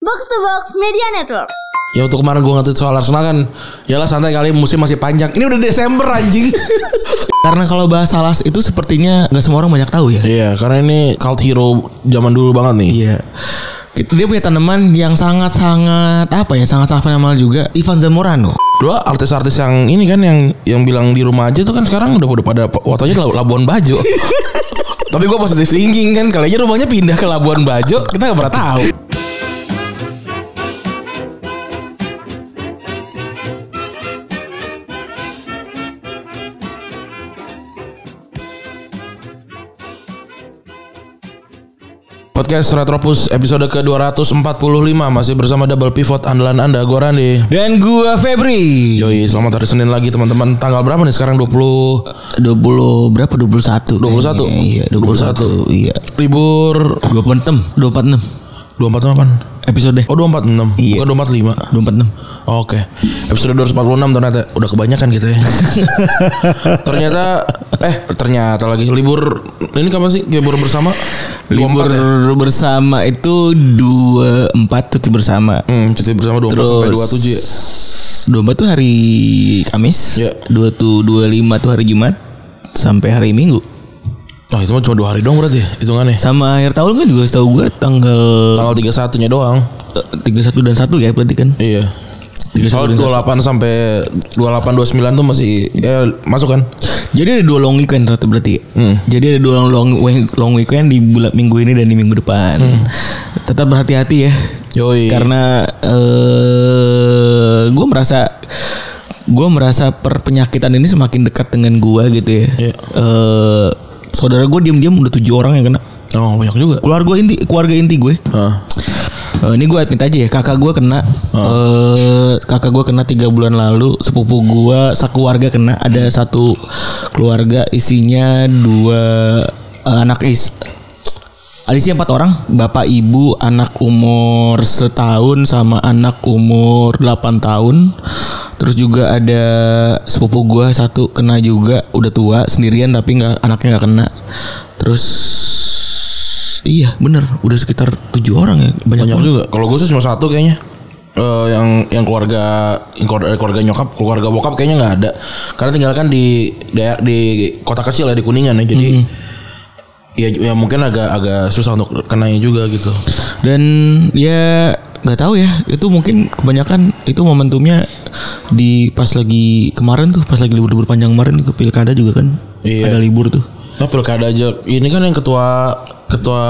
Box to Box Media Network. Ya untuk kemarin gue nge-tweet soal Arsenal kan Yalah santai kali musim masih panjang Ini udah Desember anjing Karena kalau bahas Salas itu sepertinya nggak semua orang banyak tahu ya. Iya karena ini cult hero zaman dulu banget nih Iya. Dia punya tanaman yang sangat-sangat apa ya sangat-sangat fenomenal juga Ivan Zamorano. Dua artis-artis yang ini kan yang yang bilang di rumah aja tuh kan sekarang udah udah pada fotonya di Labuan Bajo. Tapi gue positif thinking kan kali aja rumahnya pindah ke Labuan Bajo kita nggak pernah tahu. Podcast Retropus episode ke-245 Masih bersama Double Pivot andalan Anda Gue Randy Dan gua Febri. Yoi, selamat hari Senin lagi teman-teman. Tanggal berapa nih sekarang 20 20 berapa 21? 21 kayaknya. Iya, 21. Iya. libur 26, 246 24 apa? episode. Oh, 246. Iya. Bukan 245. 246. Oke. Episode 246 ternyata udah kebanyakan gitu ya. ternyata eh ternyata lagi libur ini kapan sih? Libur bersama? 24 Libur ya? bersama itu 24 cuti bersama. Hmm, cuti bersama 24 sampai 27 ya. 24 tuh hari Kamis. Iya. 2 tuh 25 tuh hari Jumat sampai hari Minggu. Nah, itu mah cuma 2 hari doang berarti ya hitungannya. Sama akhir tahun kan juga setahu gua tanggal Tanggal 31-nya doang. 31 dan 1 ya berarti kan. Iya. Soal 28 sampai 28 29 tuh masih eh, masuk kan? Jadi ada dua long weekend ternyata berarti. ya? Hmm. Jadi ada dua long long weekend di bulan minggu ini dan di minggu depan. Hmm. Tetap berhati-hati ya. Yoi. Karena eh gue merasa gue merasa perpenyakitan ini semakin dekat dengan gue gitu ya. Iya. Eh, saudara gue diam-diam udah tujuh orang yang kena. Oh, banyak juga. Keluarga inti keluarga inti gue. Heeh. Eh, ini gue admit aja ya kakak gue kena Oh. eh, kakak gue kena tiga bulan lalu sepupu gue sekeluarga kena ada satu keluarga isinya dua eh, anak is ada isinya empat orang bapak ibu anak umur setahun sama anak umur 8 tahun terus juga ada sepupu gue satu kena juga udah tua sendirian tapi nggak anaknya nggak kena terus Iya bener Udah sekitar tujuh orang ya Banyak, Banyak banget juga. Kalau gue sih cuma satu kayaknya. Eh, yang yang keluarga yang keluarga, keluarga nyokap keluarga bokap kayaknya nggak ada karena tinggal kan di daer- di kota kecil ya di kuningan ya jadi ya, ya mungkin agak agak susah untuk kenanya juga gitu Dan ya nggak tahu ya Itu mungkin kebanyakan Itu momentumnya Di pas lagi kemarin tuh Pas lagi libur-libur panjang kemarin Ke pilkada juga kan Iya. Ada libur tuh nah pilkada aja ini kan yang ketua ketua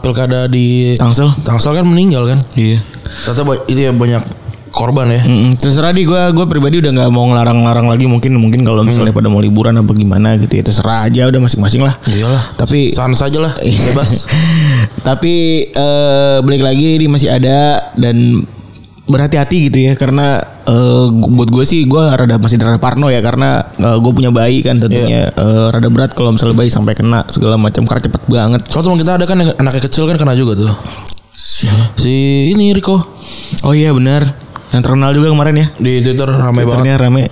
pilkada di Tangsel Tangsel kan meninggal kan Iya ternyata ba- itu ya banyak korban ya Mm, terserah di gue gue pribadi udah nggak mau ngelarang-larang lagi mungkin mungkin kalau misalnya pada mau liburan apa gimana gitu ya terserah aja udah masing-masing lah iyalah tapi sans aja lah bebas Tapi eh balik lagi ini masih ada dan berhati-hati gitu ya karena eh, gu- buat gue sih gue rada masih rada parno ya karena gue punya bayi kan tentunya Eh, rada berat kalau misalnya bayi sampai kena segala macam karena cepet banget. Soalnya teman kita ada kan yang anaknya kecil kan kena juga tuh si ini Riko Oh iya benar yang terkenal juga kemarin ya. di Twitter ramai banget Twitternya rame.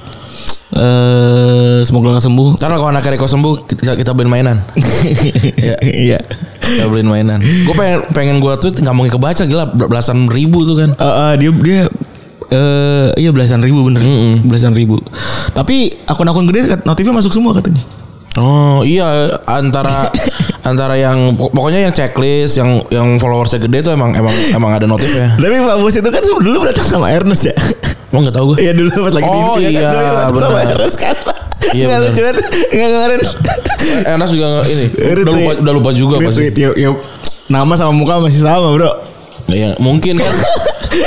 Eh semoga sembuh. Ntar kalau anak Riko sembuh kita, kita beliin mainan. Iya. Ya. Iya. Kita beliin mainan. Gue pengen pengen gue tweet nggak mungkin kebaca gila bel- belasan ribu tuh kan. Eh, eh, dia dia eh iya belasan ribu bener belasan ribu tapi akun-akun gede kat- notifnya masuk semua katanya Oh iya antara antara yang pok- pokoknya yang checklist yang yang followersnya gede tuh emang emang emang ada notif ya. Tapi Pak Bos itu kan dulu datang sama Ernest ya. Emang nggak tahu gue. Iya dulu pas lagi Oh, iya, di kan? Dulu datang sama benar. Ernest kan. Iya, benar. Nggak lucu banget. Nggak kemarin. Enas Eh, juga nggak- ini udah lupa udah lupa juga pasti. Retweet, yuk, yuk. Nama sama muka masih sama bro. Iya mungkin kan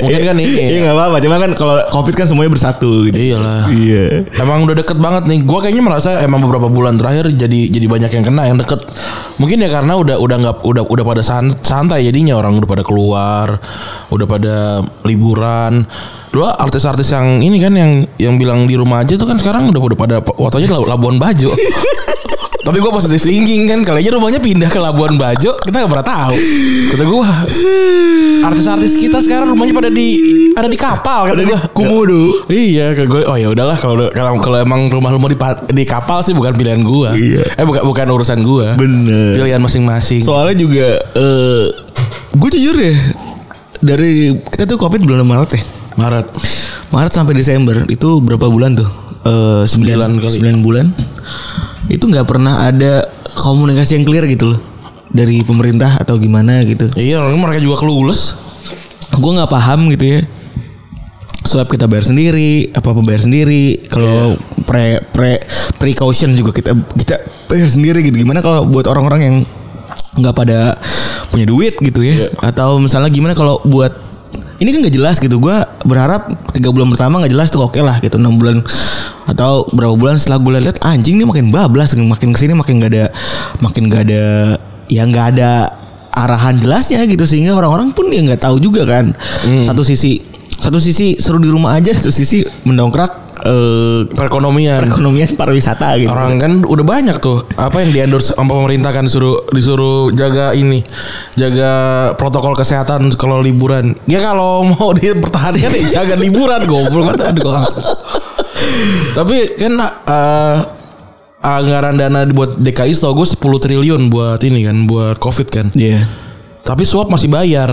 mungkin kan ini. Iya nggak apa-apa. Cuma kan kalau covid kan semuanya bersatu gitu. Iyalah. Iya. Emang udah deket banget nih. Gua kayaknya merasa emang beberapa bulan terakhir jadi jadi banyak yang kena yang deket. Mungkin ya karena udah udah nggak udah udah pada san- santai jadinya orang udah pada keluar, udah pada liburan. Dua artis-artis yang ini kan yang yang bilang di rumah aja tuh kan sekarang udah udah pada fotonya di Labuan Bajo. Tapi gua positif thinking kan Kali aja rumahnya pindah ke Labuan Bajo Kita gak pernah tahu Kata gua Artis-artis kita sekarang rumahnya pada di Ada di kapal Kata gua Kumudu. Iya, ke gue. Oh ya udahlah kalau kalau kalau emang rumah lu mau di, pa- di kapal sih bukan pilihan gua. Iya. Eh bukan bukan urusan gua. Bener. Pilihan masing-masing. Soalnya juga eh gue jujur ya dari kita tuh covid bulan Maret ya. Maret. Maret sampai Desember itu berapa bulan tuh? Eh Sembilan sembilan kali. sembilan bulan. Itu nggak pernah ada komunikasi yang clear gitu loh dari pemerintah atau gimana gitu. Iya, orang mereka juga kelulus. Gue nggak paham gitu ya. Swab kita bayar sendiri, apa apa bayar sendiri. Kalau pre pre precaution juga kita kita bayar sendiri gitu. Gimana kalau buat orang-orang yang nggak pada punya duit gitu ya? Atau misalnya gimana kalau buat ini kan nggak jelas gitu gue berharap tiga bulan pertama nggak jelas tuh oke lah gitu enam bulan atau berapa bulan setelah gue lihat anjing nih makin bablas makin kesini makin gak ada makin gak ada ya nggak ada arahan jelasnya gitu sehingga orang-orang pun ya nggak tahu juga kan Hmm. satu sisi satu sisi seru di rumah aja satu sisi mendongkrak eh, Perekonomian. perekonomian pariwisata gitu Orang kan udah banyak tuh apa yang diendorse sama pemerintah kan suruh disuruh jaga ini, jaga protokol kesehatan kalau liburan. Ya kalau mau dipertahankan ya jaga liburan goblok kan aduh. gua- Tapi kan eh, anggaran dana buat DKI setahu gue 10 triliun buat ini kan buat Covid kan. Iya Tapi swab masih bayar.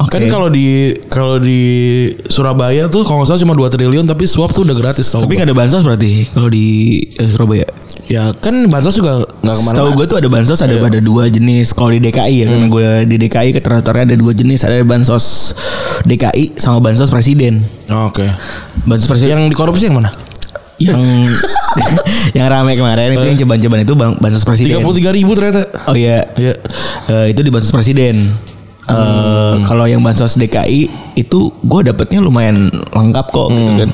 Oke. Kan kalau di kalau di Surabaya tuh kalau nggak salah cuma 2 triliun tapi swab tuh udah gratis tau. tapi nggak ada bansos berarti kalau di eh, Surabaya ya kan bansos juga nggak kemana. Tahu gue tuh ada bansos ada Iya. ada dua jenis. Kalau di DKI ya, Hmm. karena gue di DKI keteraturannya ada dua jenis. Ada bansos DKI sama bansos presiden. Oke. Bansos presiden yang Yang dikorupsi yang mana? Iya. yang, yang rame kemarin itu yang cobaan-cobaan itu bang bansos presiden. Tiga puluh tiga ribu ternyata. Oh iya. Iya. Eh, itu di bansos presiden. Eh Hmm. kalau yang bansos DKI itu gue dapetnya lumayan lengkap kok gitu Hmm. kan.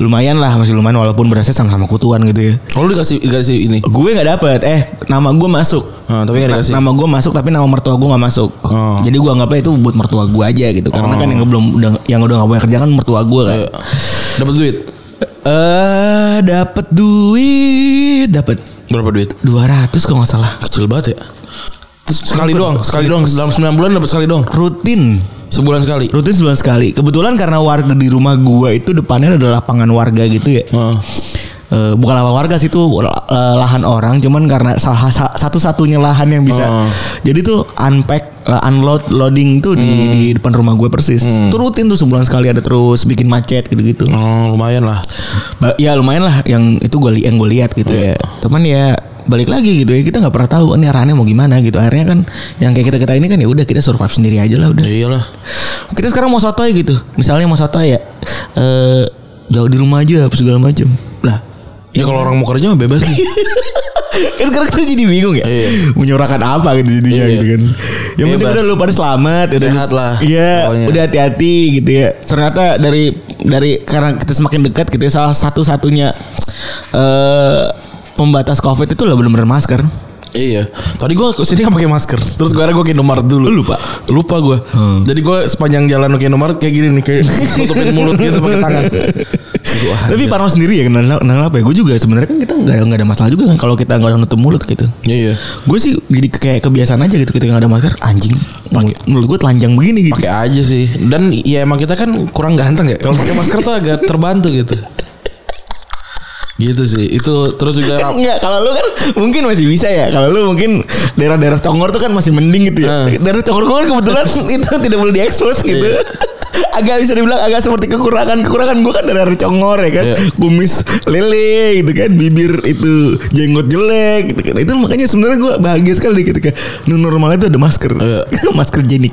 Lumayan lah masih lumayan walaupun berasnya sama-sama kutuan gitu ya. Oh, lu dikasih dikasih ini. Gue nggak dapet eh nama gue masuk. Ah, tapi nggak Na- dikasih. Nama gue masuk tapi nama mertua gue nggak masuk. Oh. Jadi gue anggapnya itu buat mertua gue aja gitu. Karena kan yang belum udah yang udah nggak punya kerja kan mertua gue Iya. kan. Dapat duit. Eh dapat duit, dapat Berapa duit? 200 kalau nggak salah. Kecil banget ya. Terus sekali doang, sekali doang dalam 9 bulan dapat sekali doang. Rutin, Sebulan sekali. rutin sebulan sekali. Kebetulan karena warga di rumah gue itu depannya ada lapangan warga gitu ya. Heeh. Eh, bukan lapangan warga sih itu la- eh, lahan orang cuman karena salah sa- satu-satunya lahan yang bisa Oh. jadi tuh unpack eh, unload loading tuh di, di depan rumah gue persis Tuh rutin tuh sebulan sekali ada terus bikin macet gitu-gitu Oh, lumayan lah. Ba- ya lumayan lah yang itu gue li yang gue lihat gitu ya teman ya balik lagi gitu ya kita nggak pernah tahu ini arahnya mau gimana gitu akhirnya kan yang kayak kita kita ini kan ya udah kita survive sendiri aja lah udah Ya iyalah. kita sekarang mau sotoy gitu misalnya mau sotoy ya eh jauh di rumah aja apa segala macam lah Ya kalau orang mau kerja mah bebas nih. kan sekarang kita jadi bingung ya Iya. menyorakan apa gitu jadinya Iya. gitu kan yang penting Bebas. udah lu pada selamat udah- Sehat lah, iya pokoknya. udah hati-hati gitu ya ternyata dari dari karena kita semakin dekat gitu ya salah satu satunya eh pembatas covid itu lah bener-bener masker Iya. Tadi gua ke sini nggak pakai masker. Terus gua akhirnya gua ke Indomaret dulu. lupa. Lupa gua. Hmm. Jadi gua sepanjang jalan ke Indomaret kayak gini nih kayak nutupin mulut gitu pakai tangan. Gua, ah, tapi Parno sendiri ya kenal kenal apa ya gue juga sebenarnya kan kita nggak nggak ada masalah juga kan kalau kita nggak nutup mulut gitu Iya. iya. gue sih jadi kayak kebiasaan aja gitu ketika nggak ada masker anjing mulut- mulut gue telanjang begini gitu pakai aja sih dan ya emang kita kan kurang ganteng ya kalau pakai masker tuh agak terbantu gitu gitu sih itu terus juga kan rap- enggak kalau lu kan mungkin masih bisa ya kalau lu mungkin daerah-daerah Congor tuh kan masih mending gitu ya Hmm. daerah Congor gue kan kebetulan itu tidak boleh diekspos gitu agak bisa dibilang agak seperti kekurangan kekurangan gue kan daerah Congor ya kan Iya. kumis lele gitu kan bibir itu jenggot jelek gitu kan itu makanya sebenarnya gue bahagia sekali ketika new normalnya tuh ada masker Iya. masker jenik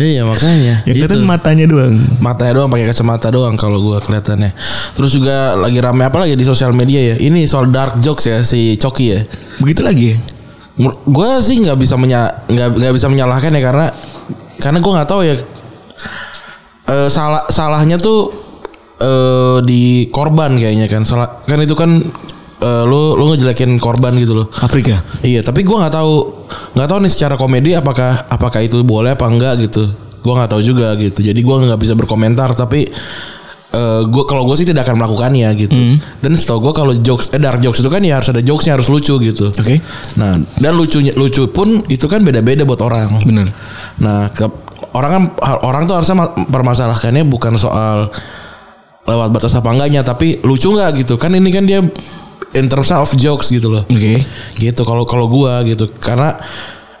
iya makanya gitu. yang kelihatan matanya doang matanya doang pakai kacamata doang kalau gua kelihatannya terus juga lagi rame apa lagi di sosial media ya ini soal dark jokes ya si coki ya begitu lagi ya? gue sih nggak bisa menya nggak nggak bisa menyalahkan ya karena karena gue nggak tahu ya Eh, salah salahnya tuh eh di korban kayaknya kan salah kan itu kan eh, lu lu ngejelekin korban gitu loh Afrika Iya, tapi gua nggak tahu nggak tahu nih secara komedi apakah apakah itu boleh apa enggak gitu. Gua nggak tahu juga gitu. Jadi gua nggak bisa berkomentar tapi eh gua kalau gue sih tidak akan melakukannya gitu. Hmm. Dan setahu gua kalau jokes eh dark jokes itu kan ya harus ada jokesnya harus lucu gitu. Oke. Nah, dan lucunya lucu pun itu kan beda-beda buat orang. Bener. Nah, ke- orang kan orang tuh harusnya ma- permasalahannya bukan soal lewat batas apa enggaknya tapi lucu nggak gitu. Kan ini kan dia in terms of jokes gitu loh oke gitu kalau kalau gua gitu karena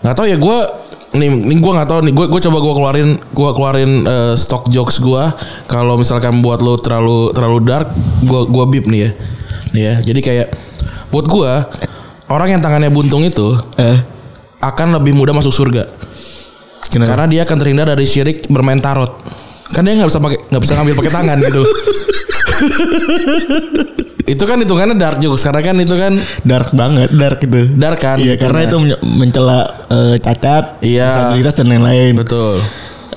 nggak tahu ya gua nih nih gue nggak tahu nih gue gue coba gue keluarin gue keluarin eh, stock jokes gue kalau misalkan buat lo terlalu terlalu dark gue gue bip nih ya nih ya jadi kayak buat gue orang yang tangannya buntung itu Eh, akan lebih mudah masuk surga kenapa? karena dia akan terhindar dari syirik bermain tarot kan dia nggak bisa pakai nggak bisa ngambil pakai tangan gitu loh itu kan hitungannya dark jokes karena kan itu kan dark banget, dark itu. Dark kan, Iya, gitu, karena nah. itu menye- mencela eh, cacat, Iya. disabilitas dan lain-lain. betul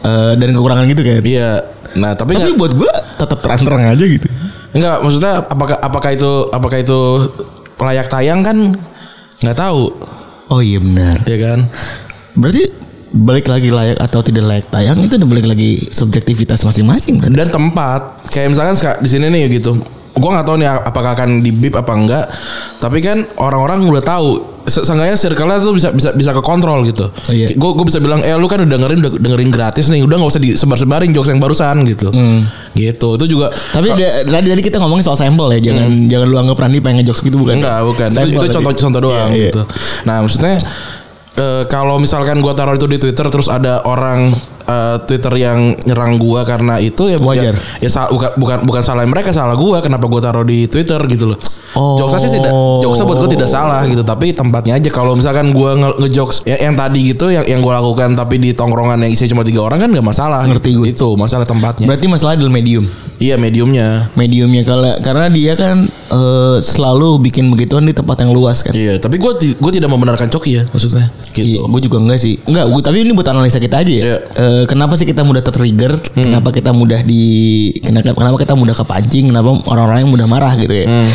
Eh, dan kekurangan gitu kan. iya nah tapi Tapi nggak- buat gua tetap terang-terang aja gitu. Enggak, maksudnya apakah apakah itu apakah itu layak tayang kan nggak tahu, Oh iya benar. ya kan? Berarti balik lagi layak atau tidak layak tayang itu udah balik lagi subjektivitas masing-masing berarti. Dan tempat, kayak misalkan seka- di sini nih gitu. Gua nggak tahu nih apakah akan di beep apa enggak, tapi kan orang-orang udah tahu. Se- Seenggaknya circle-nya tuh bisa bisa bisa kekontrol gitu. Oh, iya. Gue gue bisa bilang, eh lu kan udah dengerin udah dengerin gratis nih, udah nggak usah disebar-sebarin jokes yang barusan gitu. Hmm. Gitu, itu juga. Tapi da- tadi tadi kita ngomongin soal sampel ya, jangan jangan lu anggap Randi pengen ngejokes gitu bukan? Hmm. Enggak, bukan. Itu, Sampel itu tadi. contoh contoh doang Iya, iya. gitu. Nah, maksudnya eh, kalau misalkan gua taruh itu di Twitter terus ada orang eh, Twitter yang nyerang gua karena itu ya Wajar. Ya, ya sa- bukan bukan bukan salah mereka, salah gua kenapa gua taruh di Twitter gitu loh. Oh. Jokesnya sih tidak jokesnya buat gua tidak salah gitu, tapi tempatnya aja kalau misalkan gua nge- ngejokes ya, yang tadi gitu yang yang gua lakukan tapi di tongkrongan yang isinya cuma tiga orang kan gak masalah. Ngerti gitu. gua. Itu masalah tempatnya. Berarti masalah adalah medium. iya, mediumnya. Mediumnya kalau karena dia kan eh, selalu bikin begituan di tempat yang luas kan. Iya, tapi gua ti- gua tidak membenarkan coki ya maksudnya. Gitu. Iya, gue juga enggak sih. Enggak, gue tapi ini buat analisa kita aja ya. Iya. Hmm. Eh, kenapa sih kita mudah tertrigger? Kenapa kita mudah di kenapa, kenapa kita mudah kepancing? Kenapa orang-orang yang mudah marah gitu ya? Hmm.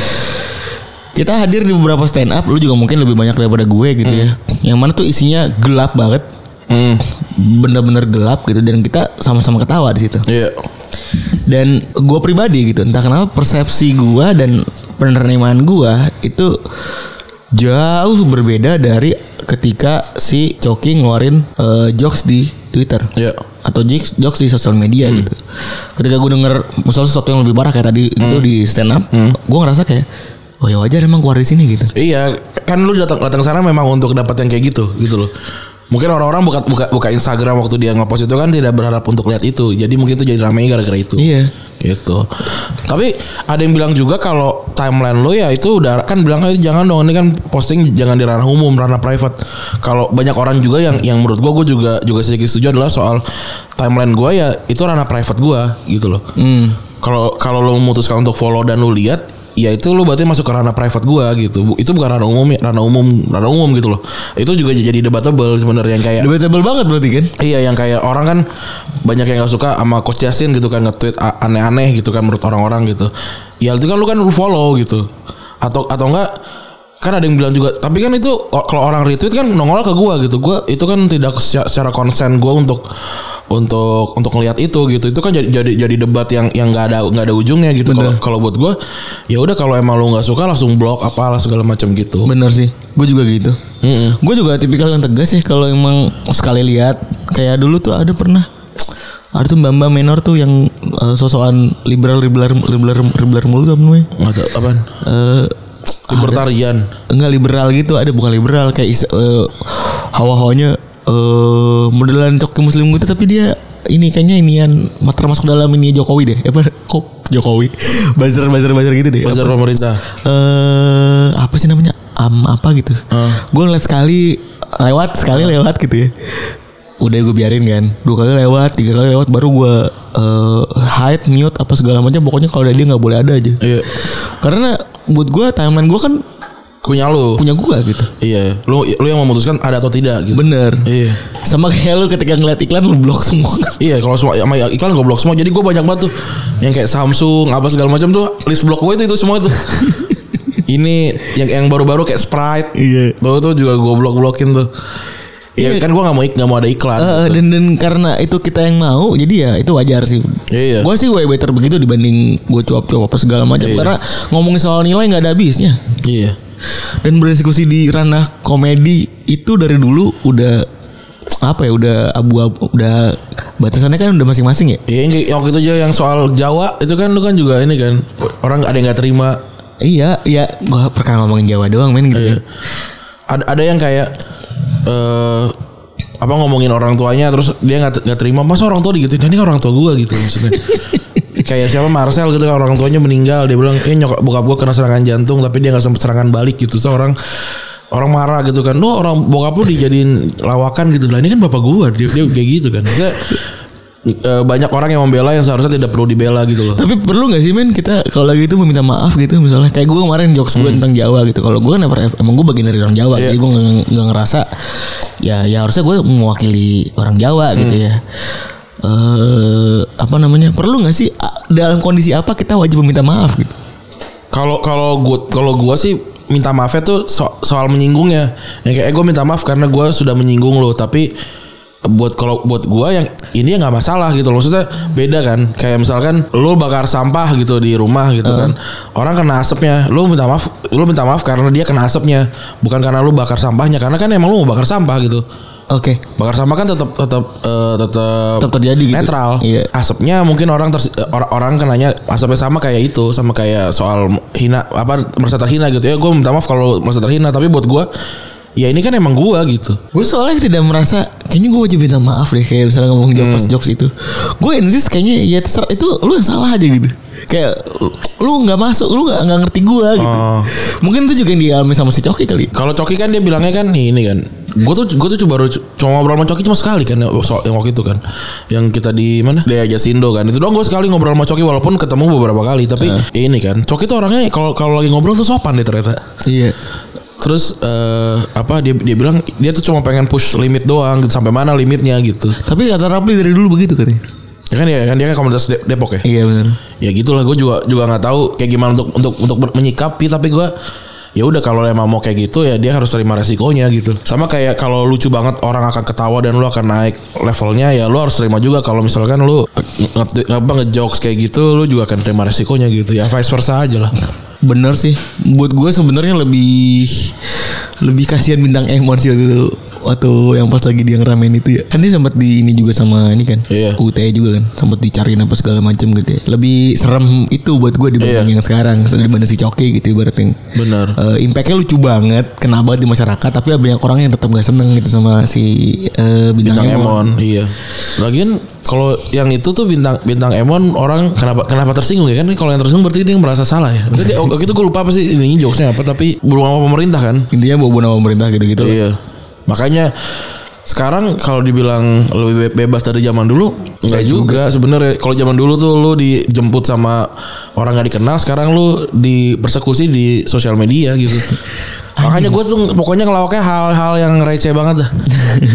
Kita hadir di beberapa stand up, lu juga mungkin lebih banyak daripada gue gitu ya. Yang mana tuh isinya gelap banget, Hmm. bener-bener gelap gitu dan kita sama-sama ketawa di situ. Iya. Dan gue pribadi gitu, entah kenapa persepsi gue dan penerimaan gue itu jauh berbeda dari ketika si Coki ngeluarin eh, jokes di Twitter. Iya. Atau jokes, jokes di sosial media gitu. Ketika gue denger misalnya sesuatu yang lebih parah kayak tadi gitu di stand up, gue ngerasa kayak oh ya wajar emang keluar di sini gitu. Iya, kan lu datang datang sana memang untuk dapat yang kayak gitu, gitu loh. Mungkin orang-orang buka buka buka Instagram waktu dia ngepost itu kan tidak berharap untuk lihat itu. Jadi mungkin itu jadi ramai gara-gara itu. Iya. Gitu. Tapi ada yang bilang juga kalau timeline lo ya itu udah kan bilang "Eh, jangan dong ini kan posting jangan di ranah umum, ranah private. Kalau banyak orang juga yang yang menurut gua gua juga juga sedikit setuju adalah soal timeline gua ya itu ranah private gua gitu loh. Hmm. Kalau kalau lo memutuskan untuk follow dan lo lihat ya itu lu berarti masuk ke ranah private gua gitu. Bu- Itu bukan ranah umum, ya, ranah umum, ranah umum gitu loh. Itu juga jadi debatable sebenarnya yang kayak Debatable banget berarti kan? Iya yang kayak orang kan banyak yang gak suka sama Coach Justin gitu kan nge-tweet a- aneh-aneh gitu kan menurut orang-orang gitu. Ya itu kan lu kan lu follow gitu. Atau atau enggak kan ada yang bilang juga tapi kan itu o- kalau orang retweet kan nongol ke gua gitu. Gua itu kan tidak secara, secara konsen gua untuk untuk untuk ngelihat itu gitu. Itu kan jadi jadi jadi debat yang yang nggak ada nggak ada ujungnya gitu. Kalau kalau buat gua ya udah kalau emang lu nggak suka langsung blok apalah segala macam gitu. Bener sih, gue juga gitu. Mm-mm. Gue juga tipikal yang tegas sih kalau emang sekali lihat kayak dulu tuh ada pernah ada tuh mbak mbak menor tuh yang eh, sosokan liberal liberal liberal liberal mulu tuh apa namanya? Nggak tahu apaan. Eh, Libertarian. enggak liberal gitu ada bukan liberal kayak is- eh, hawa-hawanya eh modelan coki muslim gitu tapi dia ini kayaknya inian termasuk dalam ini Jokowi deh apa kok Jokowi buzzer buzzer buzzer gitu deh Bazar pemerintah. eh apa sih namanya am apa gitu Ah. gue ngeliat sekali lewat sekali lewat gitu ya udah gue biarin kan dua kali lewat tiga kali lewat baru gue eh, hide mute apa segala macam pokoknya kalau ada dia nggak boleh ada aja Iya. karena buat gue timeline gue kan Punya lu. punya gue gitu Iya, lu lu yang memutuskan ada atau tidak gitu. bener Iya. sama kayak lu ketika ngeliat iklan lu blok semua Iya, kalau semua sama iklan gue blok semua. Jadi gue banyak banget tuh yang kayak Samsung apa segala macam tuh list blok gue itu itu semua tuh. Ini yang yang baru-baru kayak Sprite. Iya. Tuh tuh juga gue blok-blokin tuh. Iya, Iya. kan gue nggak mau ik nggak mau ada iklan. Eh, gitu. dan, dan karena itu kita yang mau jadi ya itu wajar sih Iya. gue sih way better begitu dibanding gue cuap-cuap apa segala macam Iya. karena ngomongin soal nilai nggak ada habisnya Iya. dan berdiskusi di ranah komedi itu dari dulu udah apa ya udah abu-abu udah batasannya kan udah masing-masing ya Iya, yang kayak- waktu itu aja yang soal Jawa itu kan lu kan juga ini kan orang ada yang nggak terima. iya iya gue ya. pernah ngomongin Jawa doang men gitu Ada ada yang kayak eh apa ngomongin orang tuanya terus dia nggak nggak terima masa orang tua digituin dan ini orang tua gua gitu maksudnya kayak siapa Marcel gitu kan orang tuanya meninggal dia bilang eh nyokap bokap gua kena serangan jantung tapi dia nggak sempat serangan balik gitu so orang orang marah gitu kan lu orang bokap lu dijadiin lawakan gitu lah ini kan bapak gua dia, dia kayak gitu kan Maksudnya, eh, banyak orang yang membela yang seharusnya tidak perlu dibela gitu loh Tapi perlu gak sih men kita kalau lagi itu meminta maaf gitu misalnya Kayak gue kemarin jokes gue tentang Jawa gitu Kalau gue kan never- emang gue bagian dari orang Jawa Jadi gue gak, gak ngerasa Ya ya harusnya gue mewakili orang Jawa gitu ya eh Apa namanya Perlu gak sih a- dalam kondisi apa kita wajib meminta maaf gitu Kalau kalau gua kalau gua sih minta maafnya tuh so- soal menyinggungnya. Yang kayak eh, gua minta maaf karena gua sudah menyinggung lo, tapi buat kalau buat gua yang ini ya nggak masalah gitu loh. Maksudnya beda kan. Kayak misalkan lo bakar sampah gitu di rumah gitu kan. Orang kena asapnya. Lo minta maaf, lo minta maaf karena dia kena asapnya, bukan karena lo bakar sampahnya. Karena kan emang lo mau bakar sampah gitu. Oke Bakar sampah kan tetap tetap eh, tetap Tetap terjadi gitu. netral. Iya. Asapnya mungkin orang ters- eh, or- orang kenanya asapnya sama kayak itu sama kayak soal hina apa merasa terhina gitu ya gue minta maaf kalau merasa terhina tapi buat gue ya ini kan emang gue gitu. Gue soalnya tidak merasa Kayaknya gue wajib minta maaf deh Kayak misalnya ngomong jokes jokes itu Gue insist kayaknya ya terserah Itu lu yang salah aja gitu Kayak lu nggak masuk Lu nggak nggak ngerti gue gitu Oh. Mungkin itu juga yang dialami sama si Coki kali Kalau Coki kan dia bilangnya kan nih, ini kan. Gue tuh gue tuh cuma baru cuma ngobrol sama Coki cuma sekali kan yang so- yang waktu itu kan. Yang kita di mana? Daya Jasindo kan. Itu doang gue sekali ngobrol sama Coki walaupun ketemu beberapa kali tapi Eh. ini kan. Coki tuh orangnya kalau kalau lagi ngobrol tuh sopan deh ternyata. Iya Terus eh, apa dia dia bilang dia tuh cuma pengen push limit doang gitu, sampai mana limitnya gitu. Tapi kata Rapli dari dulu begitu katanya Ya kan ya kan dia kan komunitas De- Depok ya. Iya benar. Ya gitulah gue juga juga nggak tahu kayak gimana untuk untuk untuk ber- menyikapi tapi gue ya udah kalau emang mau kayak gitu ya dia harus terima resikonya gitu. Sama kayak kalau lucu banget orang akan ketawa dan lu akan naik levelnya ya lu harus terima juga kalau misalkan lu nge- nge- apa ngejokes kayak gitu lu juga akan terima resikonya gitu. Ya vice versa aja lah. Bener sih Buat gue sebenarnya lebih Lebih kasihan bintang Emon sih waktu itu Waktu yang pas lagi dia ngeramein itu ya Kan dia sempat di ini juga sama ini kan Iya. UTE juga kan Sempat dicariin apa segala macam gitu ya Lebih serem itu buat gue dibanding Iya. yang sekarang Dibanding si Coki gitu ibaratnya Bener. Eh, Impactnya lucu banget Kena banget di masyarakat Tapi banyak orang yang tetap gak seneng gitu sama si eh, bintang, bintang Emon. Emon. iya lagian kalau yang itu tuh bintang bintang Emon orang kenapa kenapa tersinggung ya kan kalau yang tersinggung berarti dia merasa salah ya Berarti, oh, gitu gue lupa apa sih ini jokesnya apa tapi belum sama pemerintah kan Intinya bobo nama pemerintah gitu-gitu iya makanya sekarang kalau dibilang lebih be- bebas dari zaman dulu nggak juga, sebenarnya kalau zaman dulu tuh lu dijemput sama orang nggak dikenal sekarang lu dipersekusi di sosial media gitu makanya gue tuh pokoknya ngelawaknya hal-hal yang receh banget dah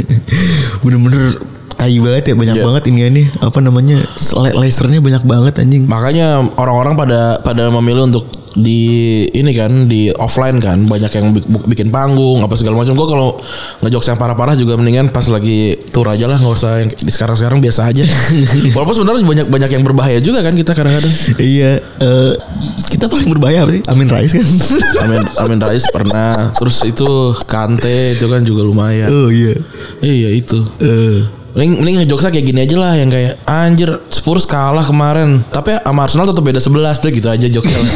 bener-bener tai banget ya banyak Iya. banget ini nih apa namanya sli- lasernya banyak banget anjing Makanya orang-orang pada pada memilih untuk di ini kan di offline kan banyak yang bi- bu- bikin panggung apa segala macam. Gue kalau ngejokes yang parah-parah juga mendingan pas lagi tour aja lah nggak usah yang di sekarang-sekarang biasa aja. Walaupun sebenarnya banyak banyak yang berbahaya juga kan kita kadang-kadang. iya eh, kita paling berbahaya apa sih Amin Rais kan Amin Amin Rais pernah. Terus itu Kante itu kan juga lumayan. oh iya Iya itu. Eh, Mending, mending ngejokesnya kayak gini aja lah yang kayak anjir Spurs kalah kemarin tapi sama Arsenal tetap beda 11 deh gitu aja jokesnya. lah.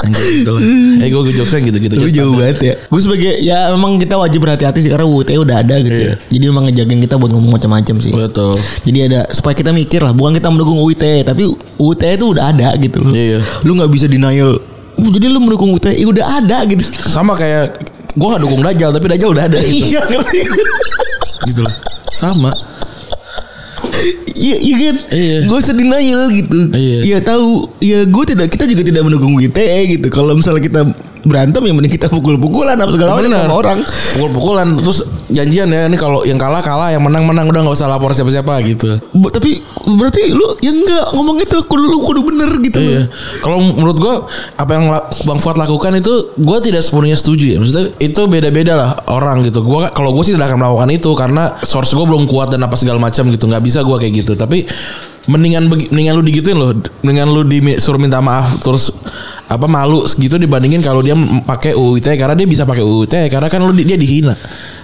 anjir gitu lah. Eh gue jokesnya gitu-gitu tapi aja. jauh banget ya gue sebagai ya emang kita wajib berhati-hati sih karena UT udah ada gitu Iya. ya jadi emang ngejagain kita buat ngomong macam-macam sih Betul. jadi ada supaya kita mikir lah bukan kita mendukung UIT tapi UIT itu udah ada gitu loh Iya. lu nggak bisa denial "Oh, jadi lu mendukung UIT ya udah ada gitu Sama kayak gue gak dukung Dajjal tapi Dajjal udah ada gitu, iya ngerti gitu loh. Sama. Iya, iya kan? Iya. Gue usah denial gitu. Iya. Ya tahu, ya gue tidak kita juga tidak mendukung ITE gitu. Kalau misalnya kita berantem ya mending kita pukul-pukulan apa segala macam Bener. sama orang. Pukul-pukulan terus janjian ya ini kalau yang kalah kalah yang menang menang udah nggak usah lapor siapa-siapa gitu. B- tapi berarti lu yang enggak ngomong itu kudu lu kudu bener gitu loh. Iya. Kalau menurut gua apa yang la- Bang Fuad lakukan itu gua tidak sepenuhnya setuju ya. Maksudnya itu beda-beda lah orang gitu. Gua kalau gua sih tidak akan melakukan itu karena source gua belum kuat dan apa segala macam gitu. nggak bisa gua kayak gitu. Tapi mendingan begi- mendingan lu digituin loh. Mendingan lu disuruh minta maaf terus apa malu segitu dibandingin kalau dia m- pakai UU ITE E. karena dia bisa pakai UU ITE karena kan lu di- dia dihina.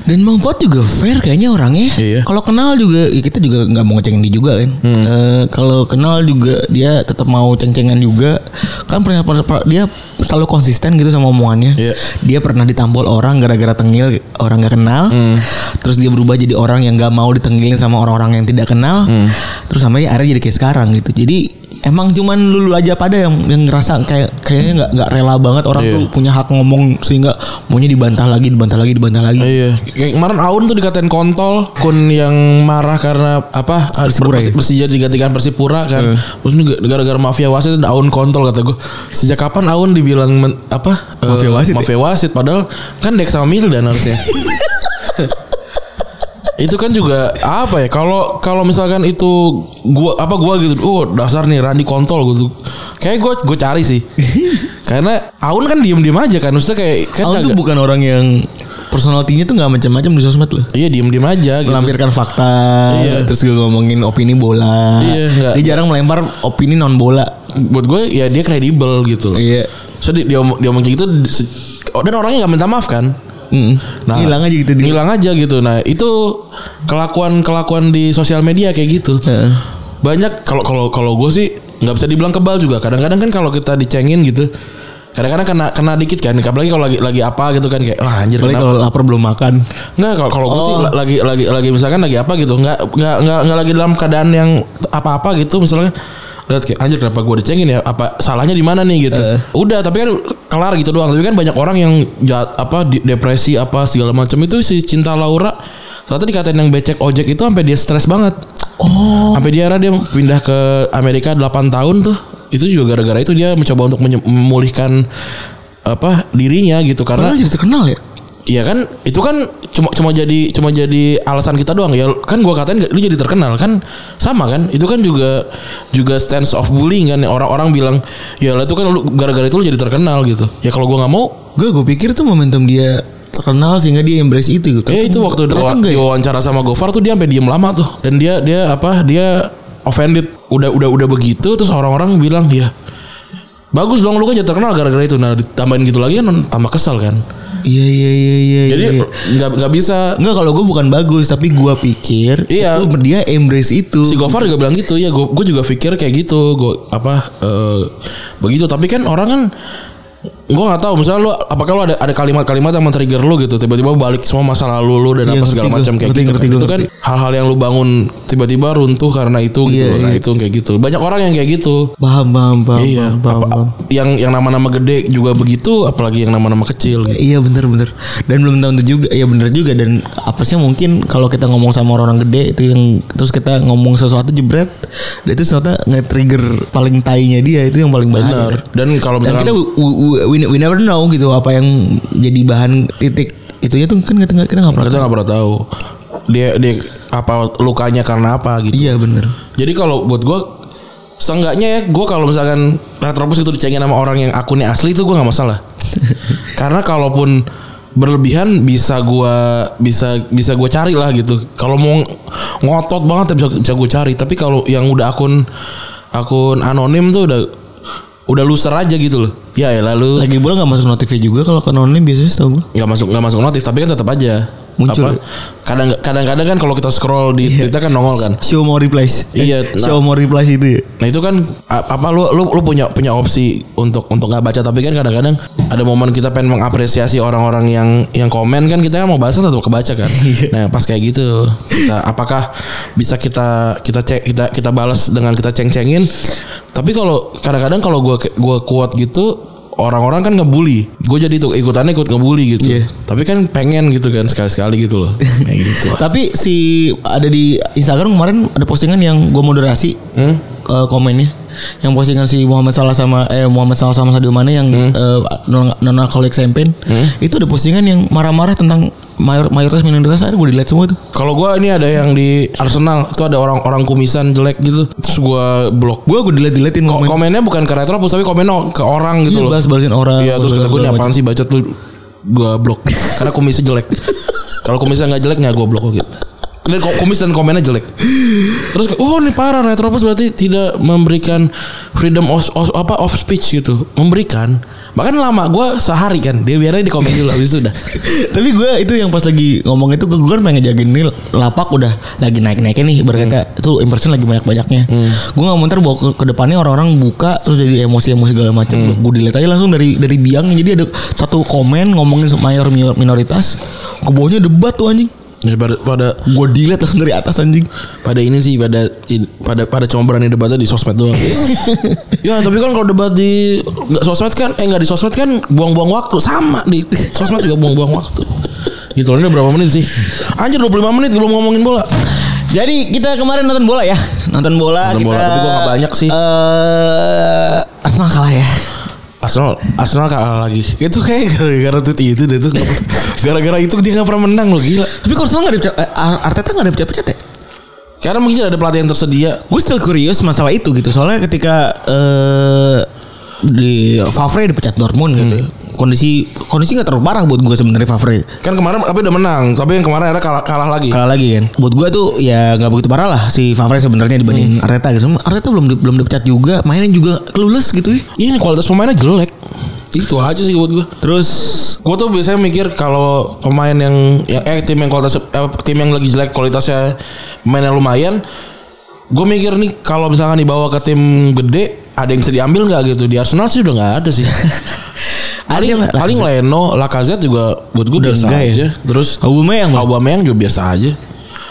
Dan Mang Fuad juga fair kayaknya orangnya. Iya. Hmm. Kalau kenal juga ya kita juga nggak mau ngecengin dia juga kan. Eh, kalau kenal juga dia tetap mau ceng-cengan juga. Kan pernah pernah- dia selalu konsisten gitu sama omongannya. Iya. Dia pernah ditampol orang gara-gara tengil orang nggak kenal. Hmm. Terus dia berubah jadi orang yang nggak mau ditengilin sama orang-orang yang tidak kenal. Hmm. Terus sampai akhirnya jadi kayak sekarang gitu. Jadi emang cuman lulu aja pada yang yang ngerasa kayak kayaknya nggak nggak rela banget orang Iya. tuh punya hak ngomong sehingga maunya dibantah lagi, dibantah lagi, dibantah lagi. Iya, kayak kemarin Aun tuh dikatain kontol, Kun yang marah karena apa? Persipura Iya. Persi- Persija ya? digantikan Persipura kan. Terus ini gara-gara mafia wasit ada Aun kontol kata gue. Sejak kapan Aun dibilang men- apa? eh, Mafia wasit ya? Mafia wasit padahal kan Dek sama Mildan harusnya. itu kan juga apa ya kalau kalau misalkan itu gua apa gua gitu oh dasar nih Randi kontol gitu kayak gua gua cari sih karena Aun kan diem diem aja kan maksudnya kayak kan Aun tuh agak- bukan orang yang personalitinya tuh nggak macam-macam di sosmed loh. iya diem diem aja gitu Melampirkan fakta, Iya. terus gue ngomongin opini bola. Iya, nggak- dia jarang melempar opini non bola. buat gue ya dia kredibel gitu loh. Iya. So dia dia, omong- dia omong kayak gitu di- se- oh, dan orangnya nggak minta maaf kan? Nah, hilang aja gitu dia. Hilang aja gitu. Nah, itu kelakuan-kelakuan di sosial media kayak gitu. Heeh. Banyak kalau kalau kalau gue sih nggak bisa dibilang kebal juga. Kadang-kadang kan kalau kita dicengin gitu kadang-kadang kena kena dikit kan apalagi kalau lagi lagi apa gitu kan kayak wah anjir Apalagi kenapa kalau lapar belum makan. Nggak kalau kalau gue sih Oh. la- lagi lagi lagi misalkan lagi apa gitu nggak nggak nggak nggak lagi dalam keadaan yang apa-apa gitu misalnya lihat kayak anjir kenapa gue dicengin ya apa salahnya di mana nih gitu udah tapi kan kelar gitu doang tapi kan banyak orang yang jahat apa di- depresi apa segala macam itu si cinta Laura ternyata dikatain yang becek ojek itu sampai dia stres banget oh sampai dia akhirnya dia pindah ke Amerika 8 tahun tuh itu juga gara-gara itu dia mencoba untuk menye- memulihkan apa dirinya gitu karena Padahal jadi terkenal ya. Iya kan, itu kan cuma cuma jadi cuma jadi alasan kita doang ya. Kan gua katain lu jadi terkenal kan sama kan? Itu kan juga juga stance of bullying kan orang-orang bilang ya lah itu kan lu gara-gara itu lu jadi terkenal gitu. Ya kalau gua nggak mau, Gue gue pikir tuh momentum dia terkenal sehingga dia embrace itu gitu. ya itu waktu di Ternyata enggak ya. diwawancara sama Gofar tuh dia sampai diem lama tuh. Dan dia dia apa? Dia offended. Udah udah udah begitu terus orang-orang bilang ya bagus dong lu kan jadi terkenal gara-gara itu. Nah, ditambahin gitu lagi kan tambah kesel kan. Iya iya iya iya. iya. Jadi nggak nggak bisa Enggak kalau gue bukan bagus tapi gue pikir Iya. itu dia embrace itu. si Gofar juga bilang gitu ya gue juga pikir kayak gitu gue apa eh, begitu tapi kan orang kan gue nggak tahu misalnya lu apakah lu ada ada kalimat-kalimat yang men-trigger lu gitu tiba-tiba balik semua masa lalu lu dan apa Iya, ngerti segala gua, macam kayak ngerti, gitu ngerti kan. gua, itu kan hal-hal yang lu bangun tiba-tiba runtuh karena itu gitu Iya, nah iya. itu kayak gitu banyak orang yang kayak gitu Paham paham paham. iya paham, paham, apa- paham. yang yang nama-nama gede juga begitu apalagi yang nama-nama kecil gitu. Iya bener bener Dan belum tentu juga Iya bener juga Dan apa sih mungkin Kalau kita ngomong sama orang, gede Itu yang Terus kita ngomong sesuatu jebret Dan itu ternyata nge-trigger Paling tainya dia Itu yang paling bahaya benar dan kalau Dan kita misalkan we, we- we- we never know gitu Apa yang jadi bahan titik Itunya tuh kan kita, kita gak pernah kita nggak pernah tahu dia dia apa lukanya karena apa gitu Iya bener Jadi kalau buat gue Seenggaknya ya gue kalau misalkan Retropus itu dicengin sama orang yang akunnya asli itu gue nggak masalah Karena kalaupun berlebihan bisa gua bisa bisa gue cari lah gitu kalau mau ngotot banget ya bisa bisa gue cari tapi kalau yang udah akun akun anonim tuh udah udah loser aja gitu loh ya ya lalu Lagi pula gak masuk notifnya juga Kalau ke online biasanya setahu gue nggak masuk nggak masuk notif tapi kan tetap aja Muncul. Apa, kadang kadang-kadang kan kalau kita scroll di Twitter kan nongol kan Show more replies Iya, Eh, Show more replies itu ya Nah itu kan a- apa lu lu, lu punya punya opsi untuk untuk nggak baca tapi kan kadang-kadang ada momen kita pengen mengapresiasi orang-orang yang yang komen kan kita mau bahas tetap kebaca kan. nah pas kayak gitu kita apakah bisa kita kita cek kita kita balas dengan kita ceng-cengin. Tapi kalau kadang-kadang kalau gua gua kuat gitu orang-orang kan ngebully. Gue jadi tuh ikutannya ikut ngebully gitu. Iya. Tapi kan pengen gitu kan sekali-sekali gitu loh. Kayak gitu. Tapi si ada di Instagram kemarin ada postingan yang gue moderasi Hmm? eh, komennya. Yang postingan si Muhammad Salah sama eh Muhammad Salah sama Sadio Mane yang Hmm? eh, non non alcoholic champagne. Itu ada postingan yang marah-marah tentang mayor, mayoritas minoritas akhirnya gue dilihat semua tuh. Kalau gua ini ada yang di Arsenal itu ada orang-orang kumisan jelek gitu. Terus gua blok. Gue gue dilihat-dilihatin Ko- komen. komennya bukan ke Retropus tapi komennya ke orang gitu Iya, loh. balas-balasin orang. Iya terus kata balas-balasin gue ini segala apaan sih baca tuh gua blok. Karena kumisnya jelek. Kalau kumisnya nggak jelek ya gua blok gitu. Dan kok kumis dan komennya jelek. Terus oh ini parah Retropus berarti tidak memberikan freedom of, of- apa of speech gitu. Memberikan Bahkan lama gue sehari kan. Dia biarnya di komen dulu habis itu udah. Tapi gue itu yang pas lagi ngomong itu gue kan pengen ngejagain nih lapak udah lagi naik-naiknya nih berkata Hmm. tuh impression lagi banyak-banyaknya. Gue nggak mau ntar bawa ke, ke depannya orang-orang buka terus jadi emosi-emosi segala macam. Hmm. Gue dilihat aja langsung dari dari biangnya jadi ada satu komen ngomongin mayor minor- minoritas ke bawahnya debat tuh anjing. Ya, pada, pada Gue dilihat langsung dari atas anjing. pada ini sih pada pada pada cuma berani debatnya di sosmed doang. ya tapi kan kalau debat di nggak sosmed kan eh nggak di sosmed kan buang-buang waktu sama di sosmed juga buang-buang waktu. Gitu loh, ini udah berapa menit sih? Anjir 25 menit belum ngomongin bola. Jadi kita kemarin nonton bola ya. Nonton bola Nonton kita. bola, tapi gua nggak banyak sih. Eh, Arsenal kalah ya. Arsenal Arsenal kalah lagi. Itu kayak gara-gara tweet itu dia tuh nggak pernah- gara-gara itu dia nggak pernah menang loh gila. Tapi kok Arsenal nggak ada eh, Ar- Arteta nggak ada pecat-pecat ya? Karena mungkin ada pelatih yang tersedia. Gue still curious masalah itu gitu. Soalnya ketika eh di Favre dipecat Dortmund gitu. Kondisi kondisi nggak terlalu parah buat gue sebenarnya Favre. Kan kemarin tapi udah menang, tapi yang kemarin ada kalah, kalah lagi. Kalah lagi kan. Buat gue tuh ya nggak begitu parah lah si Favre sebenarnya dibanding Arteta gitu. Cuma Arteta belum di- belum dipecat juga, mainnya juga clueless gitu ya. Iya, Ini kualitas pemainnya jelek. Itu aja sih buat gue. Terus Gue tuh biasanya mikir kalau pemain yang, yang eh tim yang kualitas eh, tim yang lagi jelek kualitasnya pemainnya lumayan, gue mikir nih kalau misalkan dibawa ke tim gede ada yang bisa diambil nggak gitu di Arsenal sih udah nggak ada sih. paling Siapa? paling Leno, Lacazette juga buat gue Udah biasa enggak ya? aja. Terus Aubameyang Bang. Aubameyang juga biasa aja.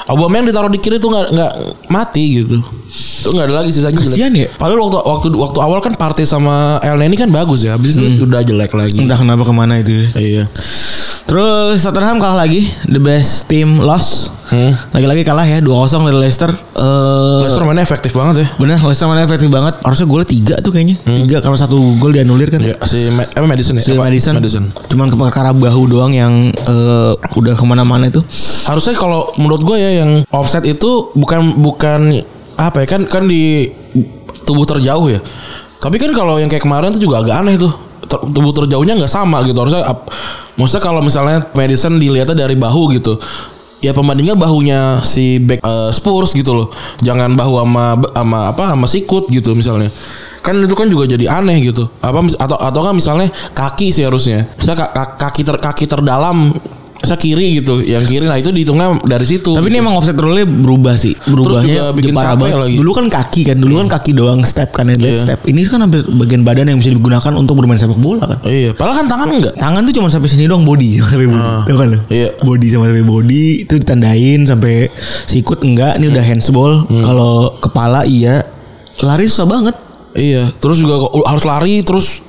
Aubameyang ditaruh di kiri tuh nggak nggak mati gitu. Itu nggak ada lagi sisanya jelek. Kasian ya? Padahal waktu waktu waktu awal kan Partey sama El Neni kan bagus ya. Habis Hmm. itu udah jelek lagi. entah kenapa kemana itu. ya. Iya. Terus Tottenham kalah lagi, the best team loss. Hmm. Lagi-lagi kalah ya 2-0 dari Leicester. Eh Leicester mainnya efektif banget ya. Bener Leicester mainnya efektif banget Hmm. Harusnya golnya tiga tuh kayaknya Tiga kalau satu gol dianulir kan Iya, si Ma- apa Madison ya? Si Apa? Iya, Madison, Cuman ke perkara bahu doang yang eh, Udah kemana-mana itu Harusnya kalau menurut gue ya yang offset itu bukan bukan apa ya kan kan di tubuh terjauh ya. Tapi kan kalau yang kayak kemarin tuh juga agak aneh tuh. Ter- tubuh terjauhnya nggak sama gitu. Harusnya ap- maksudnya kalau misalnya Madison dilihatnya dari bahu gitu. Ya pembandingnya bahunya si back eh, Spurs gitu loh. Jangan bahu sama sama apa sama sikut gitu misalnya. Kan itu kan juga jadi aneh gitu. Apa mis- atau atau kan misalnya kaki sih harusnya. Misalnya ka- ka- kaki ter, kaki terdalam saya kiri gitu yang kiri nah itu dihitungnya dari situ Tapi ini emang offset rule berubah sih Berubahnya juga bikin parah capek banget. lagi. Dulu kan kaki kan Dulu kan kaki doang step kan yang Iya. step Ini kan hampir bagian badan yang bisa digunakan Untuk bermain sepak bola kan iya padahal kan tangan enggak Tangan tuh cuma sampai sini doang body sama sampai body. Tahu kan lu? iya. Body sama sampai body itu ditandain sampai sikut enggak, ini udah handsball. Kalau kepala iya. Lari susah banget. iya terus juga kok harus lari terus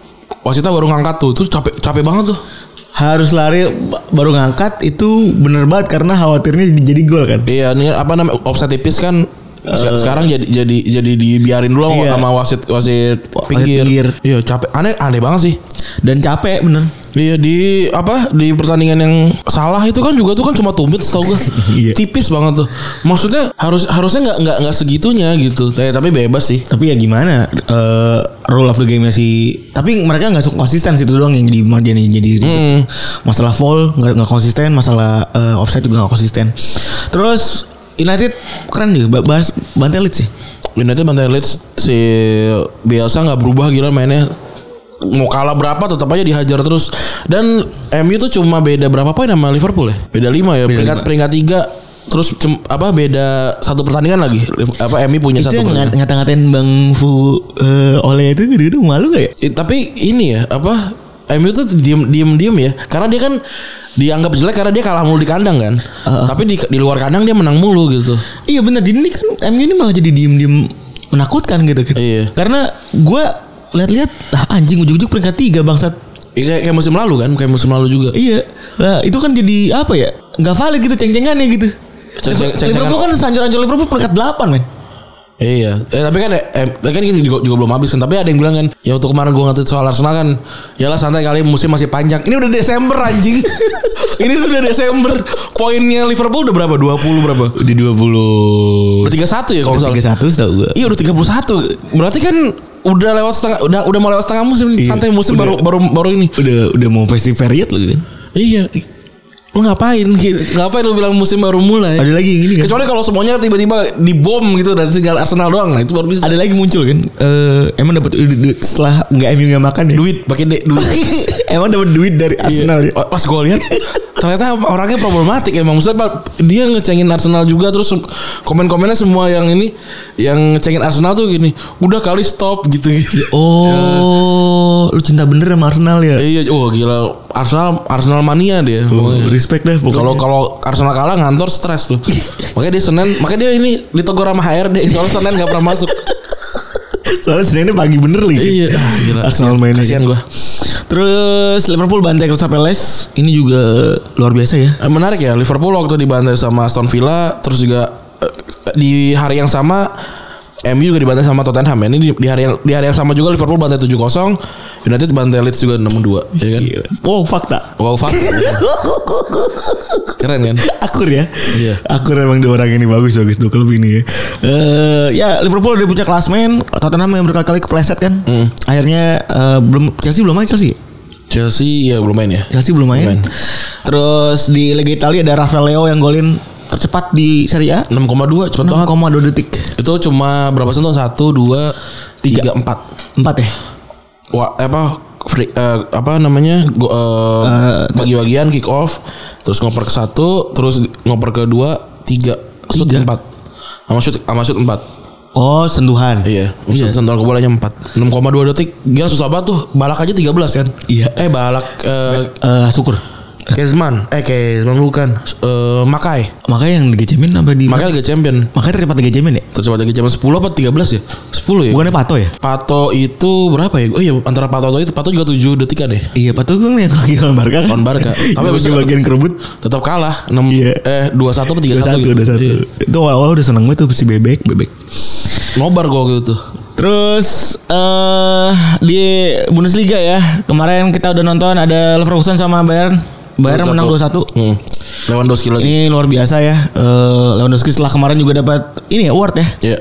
wasitnya baru ngangkat tuh terus capek capek banget tuh harus lari ba- baru ngangkat itu bener banget karena khawatirnya jadi, jadi gol kan. iya ini apa namanya offset tipis kan se- sekarang jadi jadi jadi dibiarin dulu sama- Eh. Iya. sama wasit wasit Wasit pinggir. pinggir. iya capek aneh aneh banget sih Dan capek bener. Iya di apa di pertandingan yang salah itu kan juga tuh kan cuma tumit tau gue Iya. tipis banget tuh maksudnya harus harusnya nggak nggak nggak segitunya gitu tapi, tapi bebas sih Tapi ya gimana eh, rule of the game nya sih. Tapi mereka nggak su- konsisten sih itu doang yang jadi jadi, jadi masalah foul nggak nggak konsisten, masalah eh, offside juga nggak konsisten. Terus United keren juga ba- bahas bantai Leeds sih. United bantai Leeds si biasa nggak berubah gila mainnya mau kalah berapa tetap aja dihajar terus dan MU tuh cuma beda berapa poin sama Liverpool ya beda lima ya peringkat peringkat tiga terus cum- apa beda satu pertandingan lagi Liv- apa MU punya Itu satu yang pertandingan. ngat- ngata-ngatain Bang Fu eh, Oleh itu gitu malu gak ya? Eh, tapi ini ya apa MU tuh diem diem diem ya karena dia kan dianggap jelek karena dia kalah mulu di kandang kan tapi di, di luar kandang dia menang mulu gitu Iya benar di ini kan MU ini malah jadi diem-diem menakutkan gitu kan. Iya. Karena gue lihat-lihat ah, anjing ujuk-ujuk peringkat tiga bangsat. Ya, kayak, kayak musim lalu kan kayak musim lalu juga Iya. Lah itu kan jadi apa ya? Gak valid gitu ceng-cengannya gitu. Ceng-ceng- ceng-cengan. Liverpool kan sanjur-anjur Liverpool peringkat delapan men. Iya, eh, tapi kan eh, eh, kan ini juga, juga belum habis kan. Tapi ada yang bilang kan, ya waktu kemarin gue ngatain soal Arsenal kan, ya lah santai kali musim masih panjang. Ini udah Desember anjing. ini sudah Desember. Poinnya Liverpool udah berapa? 20 berapa? Udah dua puluh. Udah 31 ya kalau nggak Tiga salah. satu setahu gue. Iya, udah 31. Berarti kan udah lewat setengah udah udah mau lewat setengah musim nih. Iya. santai musim Udah. baru baru baru ini. kan. Udah udah mau festive period loh gitu. Iya. Lu ngapain? Ngapain lu bilang musim baru mulai? Ada lagi yang ini kan? Kecuali kalau semuanya tiba-tiba dibom gitu dan tinggal Arsenal doang nah itu baru bisa. Ada lagi muncul kan? Eh emang dapat duit- duit setelah nggak MU nggak makan ya? duit Iya. pakai de- duit. emang dapat duit dari Arsenal ya? Pas gue lihat ternyata orangnya problematik emang maksudnya Pak, dia ngecengin Arsenal juga terus komen-komennya semua yang ini yang ngecengin Arsenal tuh gini udah kali stop gitu gitu Ya, Oh, lu cinta bener sama Arsenal ya? iya wah gila Arsenal Arsenal mania dia Oh, iya. Pokoknya. respect dah pokoknya. Kalau kalau Arsenal kalah ngantor stres tuh. makanya dia Senin, makanya dia ini ditegur sama HRD soalnya Senin gak pernah masuk. Soalnya Seninnya pagi bener lagi. Iya, ah, gila. Arsenal mainnya. gitu. Kasihan gua. Terus Liverpool bantai Crystal Palace. Ini juga luar biasa ya. Eh, Menarik ya Liverpool waktu dibantai sama Aston Villa terus juga eh, di hari yang sama MU juga dibantai sama Tottenham ya. Ini di, di hari yang di hari yang sama juga Liverpool bantai 7-0, United bantai Leeds juga 6-2, ya kan? Gila. Wow fakta. Wow, fuck. Keren kan? Akur ya. Iya. Akur emang dua orang ini bagus bagus dua klub ini ya. Eh, ya Liverpool udah puncak klasmen. Tottenham yang berkali-kali kepleset kan. Akhirnya eh, belum Chelsea belum main Chelsea. Chelsea ya belum main ya. Chelsea belum main. Belum main. Terus di Liga Italia ada Rafael Leo yang golin tercepat di Serie A. 6,2 cepet banget. 6,2 detik. Itu cuma berapa sentuh? 1 2 3 4. 4 ya. Wah, apa free- eh, apa namanya Go, eh, bagi-bagian kick off terus ngoper ke satu terus ngoper ke dua tiga shoot Tiga. empat sama shoot sama shoot empat Oh, sentuhan. iya iya sentuhan ke bolanya empat enam koma dua detik gila susah banget tuh balak aja tiga belas kan Iya. eh balak eh, Eh, syukur. Kezman eh Kezman bukan eh, Makai Makanya yang Liga Champion apa di Makai Liga Champion Makanya tercepat Liga Champion ya? tercepat Liga Champion sepuluh apa tiga belas ya sepuluh ya Bukannya Pato ya? Pato itu berapa ya? Oh iya antara Pato itu Pato juga tujuh detikan ya? deh. Iya Pato kan yang lagi lawan Barca kan? Lawan Barca. Tapi Tapi abis abis itu- bagian kerebut tetap kalah 6 Iya. eh 21 atau 31 satu gitu. udah satu. Iya. Itu awal-awal udah seneng banget tuh si bebek bebek. Nobar gua gitu tuh. Terus eh di Bundesliga ya kemarin kita udah nonton ada Leverkusen sama Bayern. Bayern menang 2-1. Hmm. Lewandowski lagi. Ini luar biasa ya. Eh Lewandowski setelah kemarin juga dapat ini ya award ya. Iya.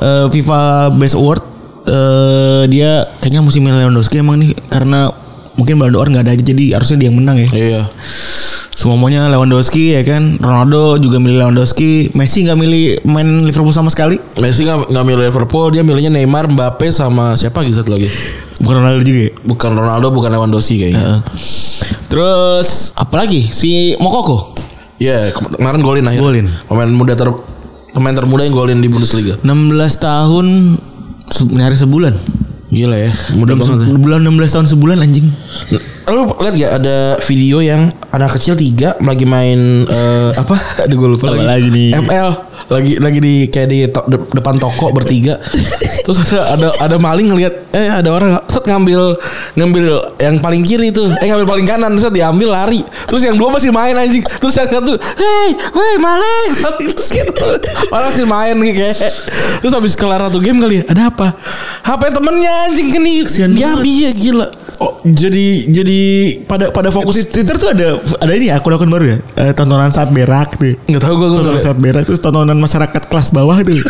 Eh, FIFA Best Award eh dia kayaknya musim Lewandowski emang nih karena mungkin Ballon d'Or nggak ada aja jadi harusnya dia yang menang ya. Iya. Semuanya Lewandowski ya kan. Ronaldo juga milih Lewandowski. Messi nggak milih main Liverpool sama sekali. Messi nggak nggak milih Liverpool, dia milihnya Neymar, Mbappe sama siapa gitu satu lagi. Bukan Ronaldo juga. ya? Eh. Bukan Ronaldo, bukan Lewandowski kayaknya. Terus apalagi si Mokoko Iya, kema- kemarin golin akhirnya. Golin. Pemain muda ter pemain termuda yang golin di Bundesliga. 16 tahun se- nyaris sebulan. Gila ya, muda banget. ya. Bulan 16 tahun sebulan anjing. Lu lihat gak ada video yang anak kecil tiga lagi main eh, apa? Aduh gue lupa Apa lagi. lagi nih? ML lagi lagi di kayak di to- de- depan toko bertiga. Terus ada ada ada maling ngeliat eh ada orang set ngambil ngambil yang paling kiri tuh. Eh ngambil paling kanan set diambil lari. Terus yang dua masih main anjing. Terus yang satu, "Hei, hei maling." Terus gitu. Orang masih main gitu kayak. Terus habis kelar satu game kali ya, ada apa? HP temennya anjing keni. Ya iya gila. Oh, jadi jadi pada pada fokus Di Twitter tuh ada ada ini ya, akun-akun baru ya. Eh, tontonan saat berak tuh. ya. nggak tahu gue Tontonan saat berak terus tontonan masyarakat kelas bawah tuh.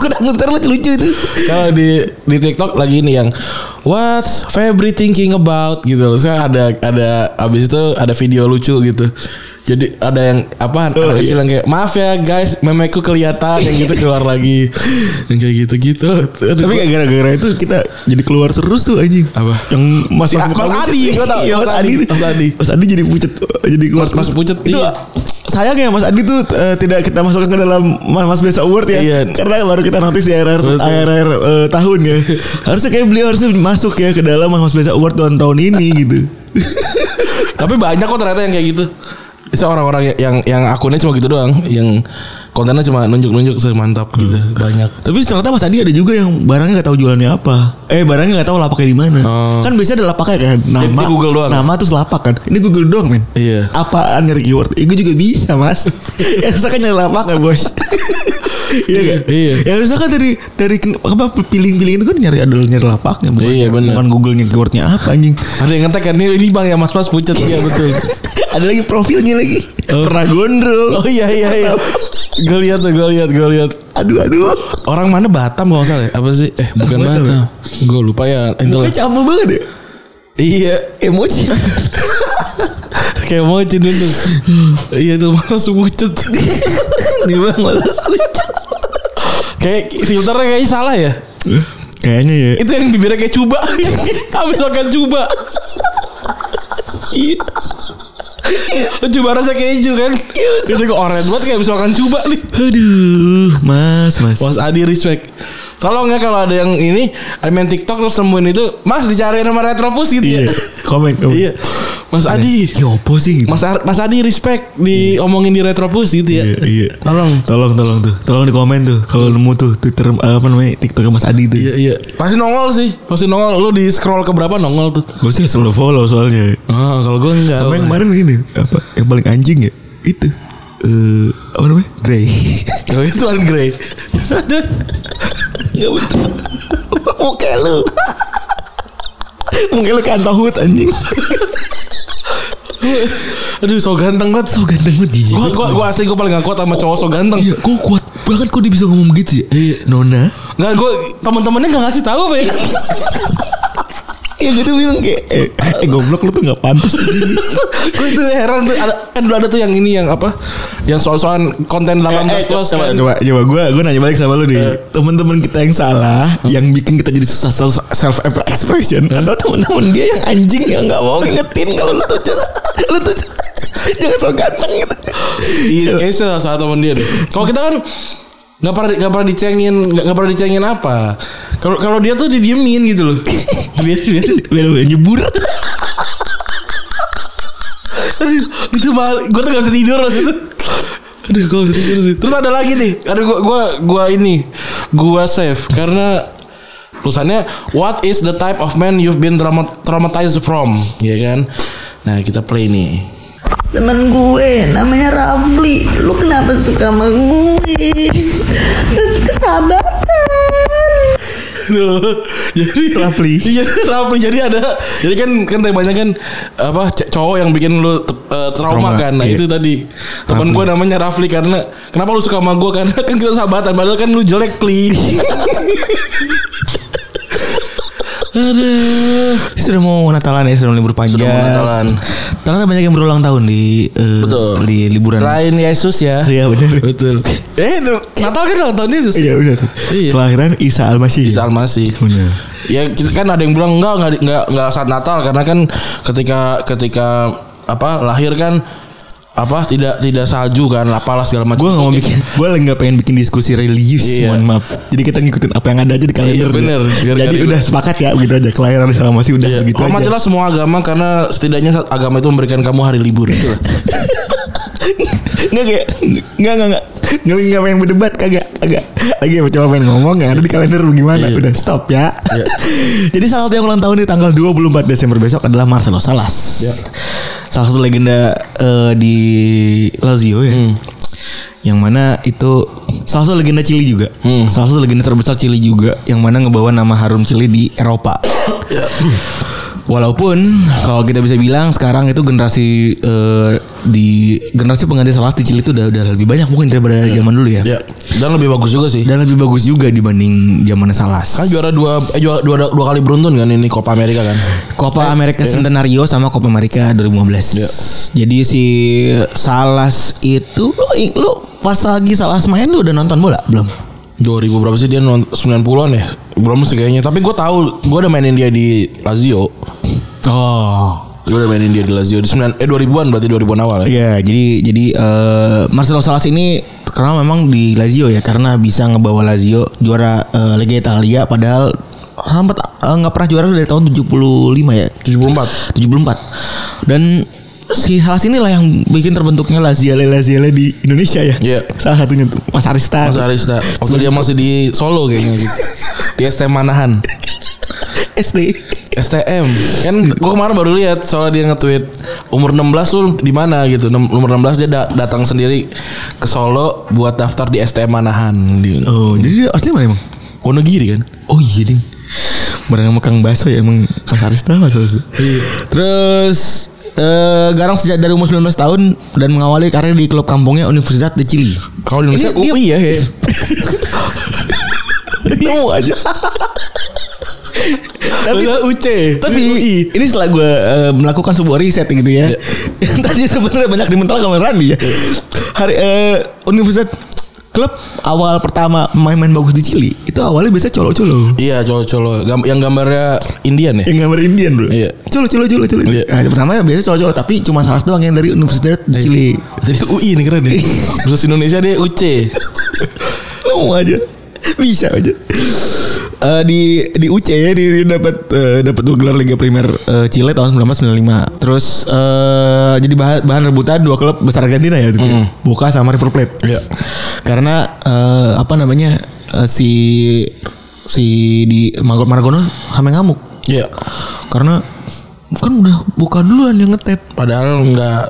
Aku udah Twitter lucu-lucu itu. Kalau di di TikTok lagi ini yang What's Febri thinking about gitu. Saya ada ada abis itu ada video lucu gitu. Jadi ada yang apa anak kecil yang kayak maaf ya guys memeku kelihatan yang gitu keluar lagi yang kayak gitu gitu. Tapi gak gara-gara itu kita jadi keluar terus tuh anjing. Apa? Yang Mas Si- Mas Adi, gua tahu. Iya, Mas Adi. Mas Adi. Mas Adi jadi pucet jadi keluar. Mas- Mas terus. pucet, Itu iya. sayang ya Mas Adi tuh eh, tidak kita masukkan ke dalam Mas Mas Biasa Award ya. Iya. Karena baru kita notice di akhir-akhir Betul. akhir-akhir, eh, tahun ya. Harusnya kayak beliau harusnya masuk ya ke dalam Mas Mas Biasa Award tahun tahun ini gitu. Tapi banyak kok ternyata yang kayak gitu. Saya orang-orang yang- yang yang akunnya cuma gitu doang, yang kontennya cuma nunjuk-nunjuk semantap gitu banyak. Tapi ternyata Mas Adi ada juga yang barangnya nggak tahu jualannya apa. Eh barangnya nggak tahu lapaknya di mana. Oh. Kan biasanya ada lapaknya kan. Nama, di Google doang. Nama terus lapak kan. Ini Google doang men. Iya. Apaan nyari keyword? Eh, gue juga bisa mas. ya susah kan nyari lapak ya bos. iya kan? Iya. Ya susah kan dari dari apa piling-piling itu kan nyari ada nyari lapaknya bukan. Iya, benar. Bukan Google nyari keywordnya apa anjing. Ada yang ngetek kan ini ini bang ya mas-mas pucet iya betul. ada lagi profilnya lagi. Pernah gondrong. Oh iya iya iya. Gue lihat tuh, gue lihat, gue lihat. Aduh aduh. Orang mana Batam kalau nggak salah? ya? Apa sih? Eh bukan Batam Batam. ya? Gue lupa ya. Itu Mukanya lah. cama banget ya. Iya. Emoji. Kayak mau itu Iya tuh malas pucet. Nih bang malas pucat. Kayak filternya kayaknya salah ya. Kayaknya ya. Itu yang bibirnya kayak cuba. Habis makan cuba. Iya. Coba rasa keju kan. Itu kok orange banget kayak habis makan cuba nih. Aduh, mas, mas. Mas Adi respect. Tolong ya kalau ada yang ini ada main TikTok terus nemuin itu, Mas dicariin sama Retropus gitu ya. Iya, komen, komen. Iya. Mas Adi. Ya apa sih gitu? Mas, Ar- Mas Adi respect diomongin di Retropus gitu ya. Iya, iya. Tolong. Tolong, Iya. tolong tuh. Tolong di komen tuh. Kalau nemu tuh Twitter eh, apa namanya TikTok Mas Adi tuh. Iya iya. Pasti nongol sih. Pasti nongol. Lu di scroll ke berapa nongol tuh? Gue sih selalu follow soalnya. Ah, kalau gue enggak. Apa yang kemarin ini apa yang paling anjing ya itu eh apa namanya Grey. Oh, itu Tuan Grey. Gak betul. Muka lu. Muka lu kantong hut anjing. Aduh, so ganteng banget. So ganteng banget jijik. Gua, gua, gua asli gua paling gak kuat sama cowok so ganteng. Iya, kok kuat banget kok dia bisa ngomong gitu ya? Nona. Enggak, gua teman-temannya gak ngasih tahu, Be. Ya gue tuh bilang kayak eh, eh, goblok lu tuh gak pantas Gue itu heran tuh ada, kan dulu ada tuh yang ini yang apa? Yang soal-soal konten 18 plus coba, kan. coba coba gue gue nanya balik sama lu deh teman-teman kita yang salah yang bikin kita jadi susah self self expression atau teman-teman dia yang anjing yang nggak mau ngingetin kalau lu tuh jangan lu tuh jangan so ganteng gitu Iya, kayaknya salah satu teman dia deh. Kalau kita kan nggak pernah nggak pernah dicengin nggak nggak pernah dicengin apa kalau kalau dia tuh didiemin gitu loh biar biar biar gue nyebur Aduh, itu balik. Gue tuh gak bisa tidur loh itu. Aduh, gue bisa tidur sih. Terus ada lagi nih. Aduh, gue gua, gua ini. Gua save karena tulisannya What is the type of man you've been trauma- traumatized from? Iya kan? Nah, kita play nih. Temen gue namanya Rafli Lu kenapa suka sama gue? Sahabatan Loh, jadi Rapli. Iya, Rapli. Jadi ada jadi kan kan temanya kan apa c- cowok yang bikin lu t- eh, trauma, Trauma, kan. Nah, iya. itu tadi. Temen gue namanya Rafli karena kenapa lu suka sama gue karena kan kita sahabatan padahal kan lu jelek, Pli. Aduh. Sudah mau Natalan ya, sudah mau libur panjang. Sudah mau Natalan. Ternyata banyak yang berulang tahun di eh, Betul. di liburan. Selain Yesus ya. Iya benar. Betul. Eh, itu Natal kan ulang tahun Yesus. Iya benar. Iya. Kelahiran Isa Almasih. Isa Almasih. Benar. Ya kita kan ada yang bilang enggak enggak enggak enggak saat Natal karena kan ketika ketika apa lahir kan apa tidak tidak salju kan apalah segala macam. Gue gak mau bikin Gue lagi gak pengen bikin diskusi religius Iya. Mohon maaf Jadi kita ngikutin apa yang ada aja di kalender gitu. Iya, bener. Biar Jadi kali- udah sepakat ya Gitu aja Kelahiran Isa Almasih udah Iya, gitu aja Hormatilah semua agama karena setidaknya saat agama itu memberikan kamu hari libur. Gitu lah. Nggak kayak Nggak nggak nggak Nggak nggak pengen berdebat Kagak Kagak Lagi ya coba pengen ngomong Gak ada di kalender lu gimana Udah stop ya Jadi salah satu yang ulang tahun di tanggal 24 Desember besok adalah Marcelo Salas Salah satu legenda eh, di Lazio ya Yang mana itu Salah satu legenda Chili juga Salah satu legenda terbesar Chili juga Yang mana ngebawa nama harum Chili di Eropa Walaupun kalau kita bisa bilang sekarang itu generasi eh, di generasi pengganti salah di Chili itu udah, udah lebih banyak mungkin daripada zaman dulu ya. ya. Dan lebih bagus juga sih. Dan lebih bagus juga dibanding zaman Salas. Kan juara dua eh, juara dua, dua kali beruntun kan ini Copa America kan. Copa America Centenario sama Copa America 2015. Jadi si Salas itu lu lu pas lagi Salas main lu udah nonton bola belum? 2000 berapa sih dia non- 90-an ya? Belum sih kayaknya. Tapi gue tahu gue udah mainin dia di Lazio. Oh. Gue udah mainin dia di Lazio di 9 eh 2000-an berarti 2000-an awal ya. Iya, jadi jadi eh, Marcelo Salas ini karena memang di Lazio ya karena bisa ngebawa Lazio juara eh, Liga Italia padahal sempat eh, nggak pernah juara dari tahun 75 ya. 74. 74. Dan si Salas inilah yang bikin terbentuknya Laziale Laziale di Indonesia ya. Iya. Salah satunya tuh Mas Arista. Mas Arista. Waktu dia masih di Solo kayaknya gitu. Di STM Manahan. SD. STM. Kan gue kemarin baru lihat soalnya dia nge-tweet umur 16 lu di mana gitu. Nem- Umur 16 dia da- datang sendiri ke Solo buat daftar di STM Manahan di Oh, jadi dia asli mana emang? Wonogiri kan. Oh iya ding. Barang sama Kang Baso ya emang Mas Arista Mas Arista. Terus eh, Garang sejak dari umur 19 tahun dan mengawali karir di klub kampungnya Universitas de Chili. Kalau di Indonesia Ini dia- UPI ya. ya. Temu aja. tapi Padahal itu- UC. tapi ini setelah gue melakukan sebuah riset gitu ya yang tadi sebenarnya banyak dimental sama Randy ya hari eh, universitas klub awal pertama main-main bagus di Chili itu awalnya biasa colo-colo Iya colo-colo Gam- Yang gambarnya Indian ya yang gambar Indian bro Iya. colo-colo colo-colo Iya. nah, yang pertama biasa colo-colo tapi cuma salah doang yang dari universitas di Chili Jadi UI nih keren nih ya. Khusus Indonesia dia UC mau aja bisa aja Eh, di di UC ya di, di dapat eh, dapat dua gelar Liga Primer eh, Chile tahun 1995. Terus eh, jadi bahan, bahan rebutan dua klub besar Argentina ya itu. Boca sama River Plate. Iya. Karena eh, apa namanya eh, si si di Margot Margono hame ngamuk. Iya Karena kan udah buka duluan yang ngetep. Padahal nggak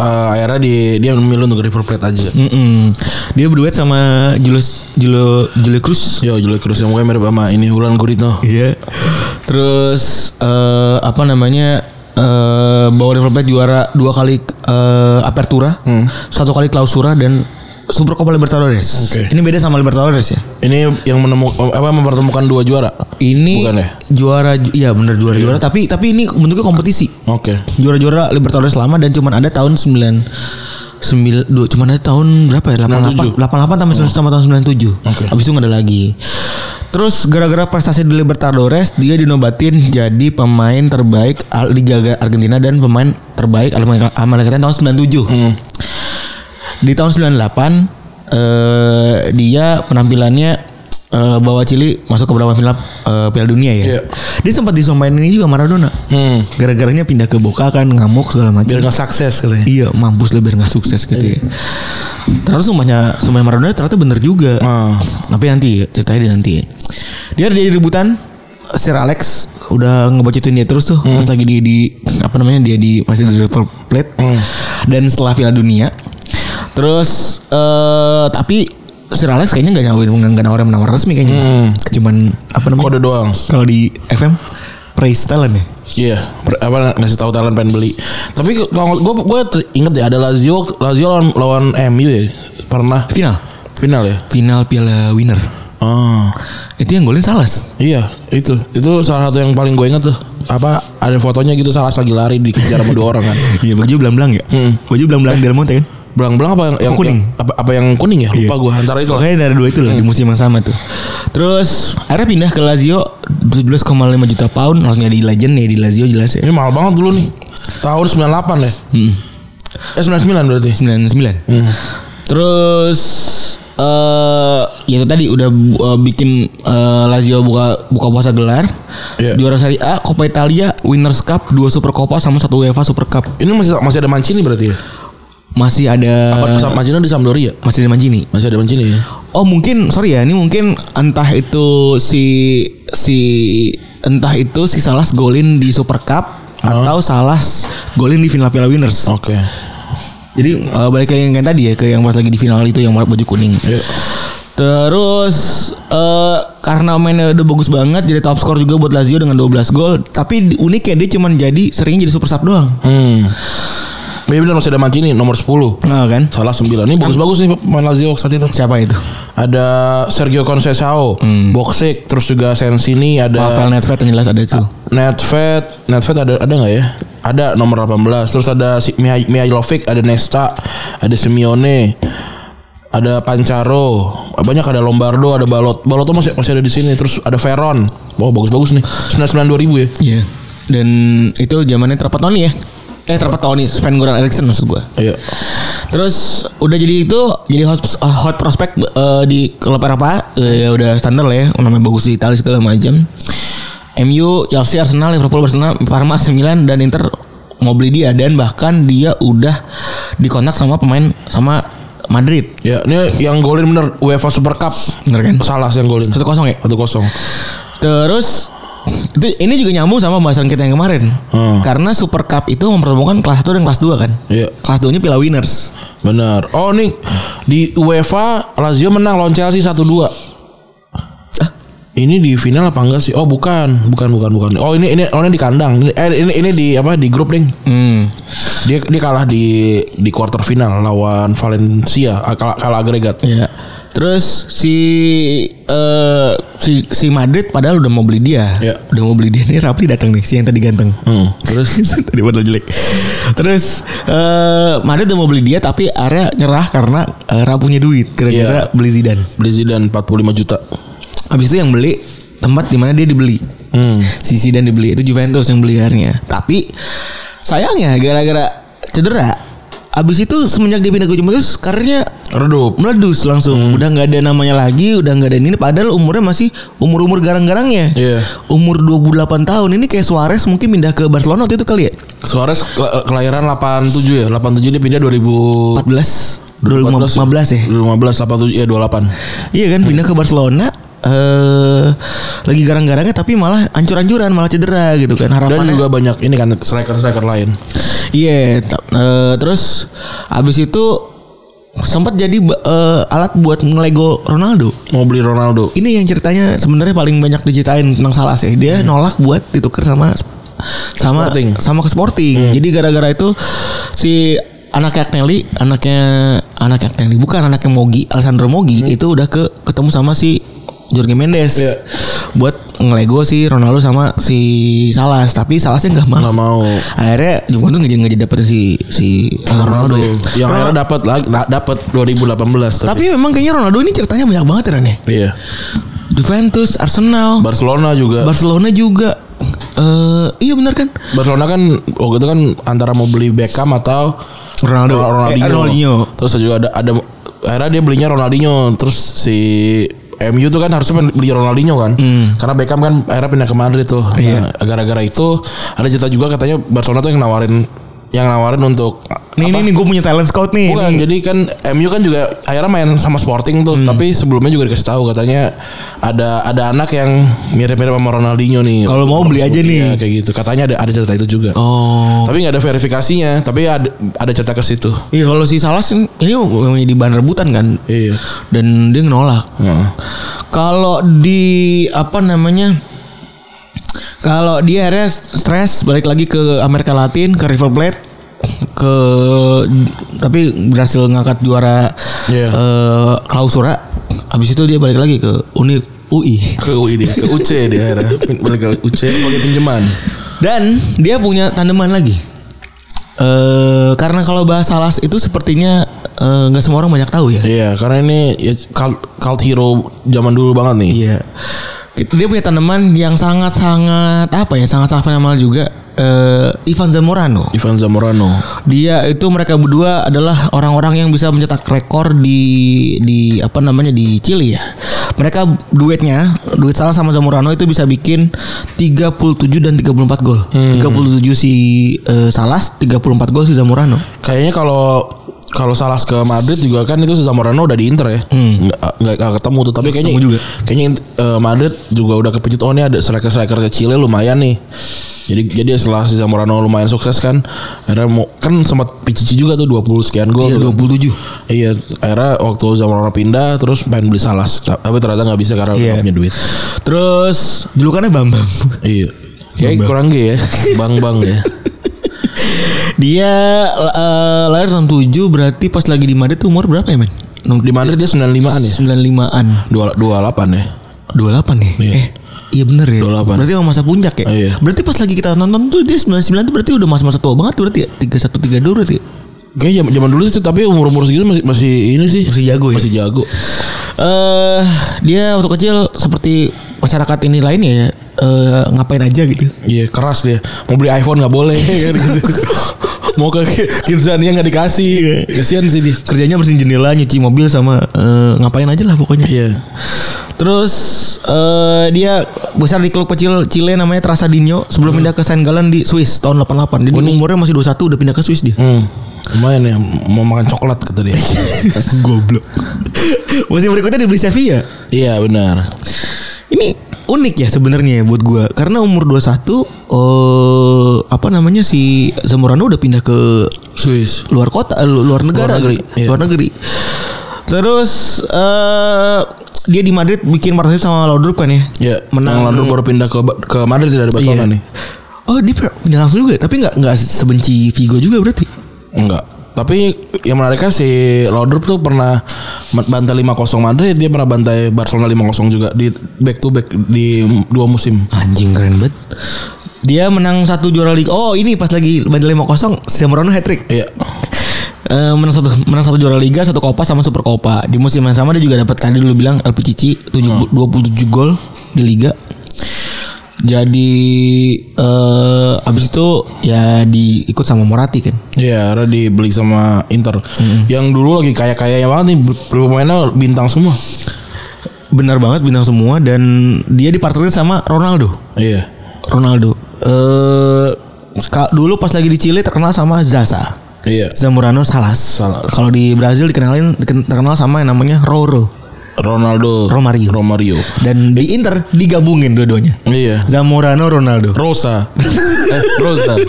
eh, Akhirnya di, dia memilih untuk River Plate aja Mm-mm. Dia berduet sama Julius Julio Julio Cruz. Yo Julio Cruz yang mukanya mirip sama ini Ulan Guritno Iya. Terus eh, apa namanya? eh bawa River Plate juara dua kali eh, Apertura, Hmm. satu kali Clausura dan Super Copa Libertadores. Oke. Ini beda sama Libertadores ya. Ini yang menemukan Apa mempertemukan dua juara Ini Bukan ya? juara ju- iya bener juara-juara tapi tapi ini bentuknya kompetisi. Oke Juara-juara Libertadores lama dan cuman ada tahun 9 sembil, dua, cuman ada tahun berapa ya? 88 88 tambah Oh. 90 sama tahun 97. Oke. Habis itu nggak ada lagi. Terus gara-gara prestasi di Libertadores dia dinobatin jadi pemain terbaik Al- Liga Argentina dan pemain terbaik Amerika Amerika tahun 97. Hmm. Di tahun 98 eh, dia penampilannya eh, bawa Chili masuk ke beberapa final eh, Piala Dunia ya. Iya. Dia sempat disompain ini juga Maradona. Hmm. Gara-garanya pindah ke Boca kan ngamuk segala macam. Biar nggak sukses katanya Iya. Iya mampus lah biar nggak sukses gitu ya. Terus sumpahnya sumpahnya Maradona ternyata bener juga. Ah. Tapi nanti ceritanya dia nanti. Dia jadi rebutan Sir Alex udah ngebocotin dia terus tuh pas Hmm. lagi di, di apa namanya dia di masih di River Plate Hmm. dan setelah Piala Dunia terus eh tapi Sir Alex kayaknya nggak nyawain nggak nawarin menawar resmi kayaknya cuman apa namanya Hmm. Kode doang kalau di FM praise talent ya Iya, per- apa ngasih tahu Thailand pengen beli. Tapi ke- kalau gue gue inget ya ada Lazio Lazio lawan, lawan MU ya pernah final final ya. final Piala Winner Oh itu yang golin Salas iya itu itu salah satu yang paling gue inget tuh apa ada fotonya gitu salah lagi lari dikejar sama dua orang kan. Iya baju belang-belang ya Baju belang-belang Del Monte kan Belang-belang apa yang, yang Kuning. yang- apa, apa yang kuning ya? Lupa Iya. gue antara itu lah. Pokoknya ada dua itu lah Di musim yang sama tuh Terus Akhirnya pindah ke Lazio 17,5 juta pound Langsung jadi legend ya Di Lazio jelas ya Ini mahal banget dulu nih. Tahun 98 ya. Mm. Eh 99 berarti. 99 Hmm. Terus eh ya itu tadi udah bu- eh, bikin eh, Lazio buka buka puasa gelar Iya. juara Serie A, Coppa Italia, Winners Cup, dua Super Coppa sama satu UEFA Super Cup Ini masih masih ada Mancini berarti ya? masih ada Apa Sa- Eh, Mancini di Sampdoria? masih ada Mancini Masih ada Mancini ya? Oh mungkin sorry ya ini mungkin entah itu si si entah itu si Salas golin di Super Cup Oh. atau Salas golin di final Piala Winners. Oke. Jadi eh, balik ke yang kayak tadi ya ke yang pas lagi di final itu yang baju kuning. Iya. Terus eh karena mainnya udah bagus banget jadi top skor juga buat Lazio dengan 12 gol. Tapi uniknya dia cuman jadi seringnya jadi super sub doang. Hmm. Ya benar masih ada Mancini nomor 10. Nah kan? Salah 9. Ini bagus-bagus nih pemain Lazio saat itu. Siapa itu? Ada Sergio Conceição, Boxic, terus juga Sensini, ada Pavel Nedved yang jelas ada itu. Nedved, Nedved ada ada nggak ya? Ada nomor 18. Terus ada si Mihai- Mihailovic, ada Nesta, ada Simeone, ada Pancaro, banyak ada Lombardo, ada Balot. Balot masih masih ada di sini. Terus ada Veron. Wah, bagus-bagus nih. 99 2000 ya. Iya. Dan itu zamannya Trapattoni ya. Eh Trapattoni, Sven Goran Eriksson maksud gua. Iya. Terus udah jadi itu jadi hot, hot prospect eh, di klub Eropa eh, ya udah standar lah ya namanya bagus di Italia segala macam. MU, Chelsea, Arsenal, Liverpool, Barcelona, Parma, AC Milan dan Inter mau beli dia dan bahkan dia udah dikontak sama pemain sama Madrid. Ya, ini yang golin bener UEFA Super Cup. Bener kan? Salah yang golin. 1-0 ya. satu kosong. Terus itu ini juga nyambung sama pembahasan kita yang kemarin. Hmm. Karena Super Cup itu mempertemukan kelas 1 dan kelas 2 kan. Iya. Kelas 2 nya Piala Winners. Benar. Oh nih di UEFA Lazio menang lawan Chelsea 1-2. Ah. Ini di final apa enggak sih? Oh bukan, bukan, bukan, bukan. Oh ini ini oh, ini di kandang. Ini- Eh, ini ini di apa di grup ding. Hmm. Dia dia kalah di di quarter final lawan Iya. Valencia ah, kalah, kalah agregat. Iya. Terus si Iya. eh si si Madrid padahal udah mau beli dia. Iya. Udah mau beli dia nih Rapli datang nih si yang tadi ganteng. Hmm, terus tadi padahal jelek. Terus eh Madrid udah mau beli dia tapi Arya nyerah karena eh, Ra punya duit. Kira-kira Iya. beli Zidane. beli Zidane 45 juta. Habis itu yang beli tempat di mana dia dibeli. Hmm. Si Zidane dibeli itu Juventus yang beli akhirnya. Tapi sayangnya gara-gara cedera Abis itu semenjak dia pindah ke Juventus karirnya Redup. meledus langsung Hmm. udah nggak ada namanya lagi udah nggak ada ini padahal umurnya masih umur umur garang-garangnya Iya. umur 28 tahun ini kayak Suarez mungkin pindah ke Barcelona waktu itu kali ya Suarez kela- kelahiran 87 ya. 87 dia pindah 2000 14 2015 iya. 2015 87 ya ya 28. iya kan pindah ke Barcelona eh lagi garang-garangnya tapi malah ancur-ancuran malah cedera gitu Dan kan harapannya juga banyak ini kan striker-striker lain. iya ta- eh, terus abis itu sempat jadi ba- eh, alat buat ngelego Ronaldo Mau beli Ronaldo. ini yang ceritanya sebenarnya paling banyak diceritain tentang salah sih dia nolak buat ditukar sama Hmm. sama Sporting. Hmm. sama ke Sporting jadi gara-gara itu si anaknya Agnelli anaknya anaknya Agnelli bukan anaknya Mogi Alessandro Mogi itu udah ke ketemu sama si Jorge Mendes Hmm. Iya. buat ngelego si Ronaldo sama si Salas tapi Salasnya nggak mau Nggak mau. akhirnya Juventus nggak jadi nggak jadi dapetin si si eh, Ronaldo, ya. Iya. Yang akhirnya dapat lagi dapat 2018 tapi. tapi memang kayaknya Ronaldo ini ceritanya banyak banget ya Ren, ya Iya. Juventus Arsenal Barcelona juga. Barcelona juga eh iya benar kan Barcelona kan waktu itu kan antara mau beli Beckham atau Ronaldo. Ro- Ronaldinho. Eh, Ronaldinho. Terus juga ada ada akhirnya dia belinya Ronaldinho. Terus si MU tuh kan harusnya pengen beli Ronaldinho kan. Karena Beckham kan akhirnya pindah ke Madrid tuh. Nah, Hmm. Iya. gara-gara itu ada cerita juga katanya Barcelona tuh yang nawarin yang nawarin untuk nih nih nih gue punya talent scout nih Bukan, Nih. jadi kan MU kan juga akhirnya main sama Sporting tuh, tapi sebelumnya juga dikasih tahu katanya ada ada anak yang mirip-mirip sama Ronaldinho nih. Kalau mau beli Iya, aja nih. kayak gitu. Katanya ada ada cerita itu juga. oh Tapi nggak ada verifikasinya, tapi ada ada cerita ke situ. iya kalau si Salah sih, ini memang jadi bahan rebutan kan Iya. dan dia nolak kalau di apa namanya kalau dia akhirnya stres balik lagi ke Amerika Latin ke River Plate ke tapi berhasil ngangkat juara Iya. eh, klausura habis itu dia balik lagi ke Univ UI Ke UI dia, ke UC dia akhirnya. Pin- Balik ke UC pakai pinjaman. Dan dia punya tandeman lagi. Eh karena kalau bahas Salas itu sepertinya eh, nggak semua orang banyak tahu ya. Iya, karena ini ya, cult, cult hero zaman dulu banget nih. Iya. Gitu, Dia punya tandeman yang sangat-sangat apa ya? Sangat-sangat fenomenal juga eh Ivan Zamorano. Ivan Zamorano. Dia itu mereka berdua adalah orang-orang yang bisa mencetak rekor di di apa namanya di Chili ya. Mereka duetnya, duet salah sama Zamorano itu bisa bikin 37 dan 34 gol. Hmm. 37 si eh, Salas, 34 gol si Zamorano. Kayaknya kalau kalau salah ke Madrid juga kan itu Zamorano udah di Inter ya. Nggak, nggak- nggak ketemu tuh tapi kayaknya Hmm. ketemu juga. kayaknya eh, Madrid juga udah kepejut oh ini ada striker-striker kecilnya lumayan nih. Jadi jadi setelah si Zamorano lumayan sukses kan akhirnya mau kan sempat Pichichi juga tuh 20 sekian gol. Iya, tuh kan. 27. Iya, akhirnya waktu Zamorano pindah terus pengen beli Salas tapi ternyata nggak bisa karena Iya. nggak punya duit. Terus julukannya Bambang. Iya. Kayak kurang gitu ya. Bang-bang ya. Dia eh, lahir tahun 7 berarti pas lagi di Madrid tuh umur berapa ya, men? Di Madrid dia 95-an ya. 95-an. 28 ya. 28 nih. Iya. Eh, iya bener ya. 28. Berarti emang masa puncak ya. Oh, iya. Berarti pas lagi kita nonton tuh dia 99 tuh berarti udah masa-masa tua banget tuh berarti ya. 31 32 berarti. ya? Kayak zaman, zaman dulu sih tapi umur umur segitu masih masih ini sih Masih jago ya? masih jago. Eh, dia waktu kecil seperti masyarakat ini lainnya ya. eh, ngapain aja gitu. Iya keras dia mau beli iPhone nggak boleh kan Iya, gitu. mau ke Kidzania nggak Iya. dikasih kasihan sih dia. Kerjanya bersihin jendela, nyuci mobil sama eh, ngapain aja lah pokoknya. Iya Terus eh dia besar di klub kecil Chile namanya Trasadinho sebelum pindah ke Saint Gallen di Swiss tahun 88. Jadi umurnya masih 21 udah pindah ke Swiss dia. hmm. lumayan ya mau makan coklat kata dia. Goblok. Musim berikutnya dibeli Sevilla. iya benar. Ini unik ya sebenarnya ya buat gua karena umur 21 eh apa namanya si Zamorano udah pindah ke Swiss. luar kota eh, lu- luar negara Luar negeri, iya. luar negeri terus eh dia di Madrid bikin partnership sama Laudrup kan ya Ya menang. menang Lalu baru pindah ke Ba- ke Madrid dari Barcelona Iya. nih. ya? oh dia per- pindah langsung juga tapi nggak nggak sebenci Vigo juga berarti Enggak. Tapi yang menariknya si Laudrup tuh pernah men- bantai 5-0 Madrid, dia pernah bantai Barcelona 5-0 juga di back to back di dua musim. Anjing keren banget. Dia menang satu juara liga. Oh ini pas lagi bandel 5-0 Semerono hat trick. Iya. Eh, menang satu menang satu juara liga, satu kopa sama super kopa. Di musim yang sama dia juga dapat tadi lu bilang LPCC 7 27 gol di liga. Jadi eh abis itu ya diikut sama Morati kan. Iya, ada dibeli sama Inter. Yang dulu lagi kaya-kayanya banget nih pemainnya bintang semua. Benar banget bintang semua dan dia dipartnerin sama Ronaldo. Iya. Ronaldo. Eh ska- dulu pas lagi di Chile terkenal sama Zaza. Iya. Zamorano Salas. Salas. Kalau di Brazil dikenalin diken- terkenal sama yang namanya Roro Ronaldo Romario. Romario. Dan di Inter digabungin dua-duanya. Iya. Zamorano Ronaldo. Rosa. eh, Rosa.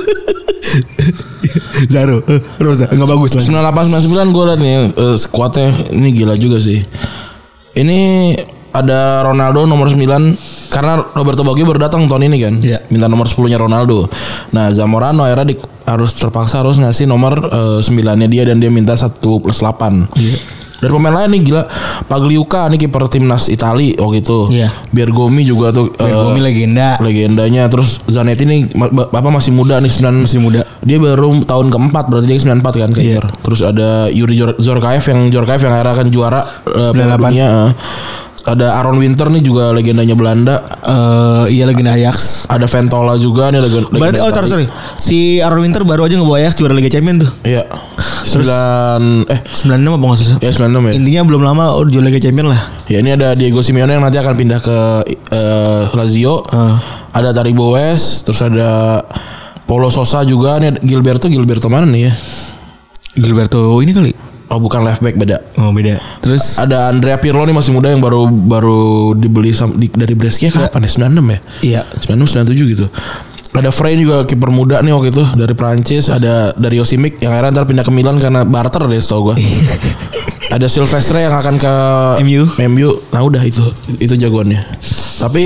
Zaro, eh, Rosa nggak bagus lah. 98 99 gue liat nih eh, skuadnya ini gila juga sih. Ini ada Ronaldo nomor 9 karena Roberto Baggio baru datang tahun ini kan. Iya. Minta nomor 10-nya Ronaldo. Nah, Zamorano akhirnya di- harus terpaksa harus ngasih nomor 9-nya dia dan dia minta 1 plus 8. Iya. Dari pemain lain nih gila Pagliuca nih kiper timnas Itali waktu itu. Iya. Bergomi juga tuh eh, Bergomi legenda. legendanya terus Zanetti nih ma- ba- apa masih muda nih 9 Masih muda. dia baru tahun keempat berarti dia 94 kan kayak Iya. gitu. Terus ada Yuri Jor- Zorkaev yang Zorkaev yang akhirnya kan juara eh, Piala 98. Dunia, eh. Ada Aaron Winter nih juga legendanya Belanda. Eh iya legenda Ajax. Ada Ventola juga nih legend. Berarti oh sorry, sorry. Si Aaron Winter baru aja ngebawa Ajax juara Liga Champion tuh. Iya. 9 eh 96 apa nggak salah. ya 96 ya. Intinya belum lama udah juara Liga Champion lah. Ya ini ada Diego Simeone yang nanti akan pindah ke eh, Lazio. Ada Taribo West, terus ada Paulo Sosa juga nih ada Gilberto Gilberto mana nih ya? Gilberto ini kali. Oh bukan left back beda. Oh beda. Terus ada Andrea Pirlo nih masih muda yang baru baru dibeli sam- di- dari Brescia kapan ya? 96 ya? Iya. 96 97 gitu. Ada Frey juga kiper muda nih waktu itu dari Prancis, ada dari Yosimic yang akhirnya ntar pindah ke Milan karena barter deh setahu gua. ada Silvestre yang akan ke MU. MU. Nah udah itu itu jagoannya. Tapi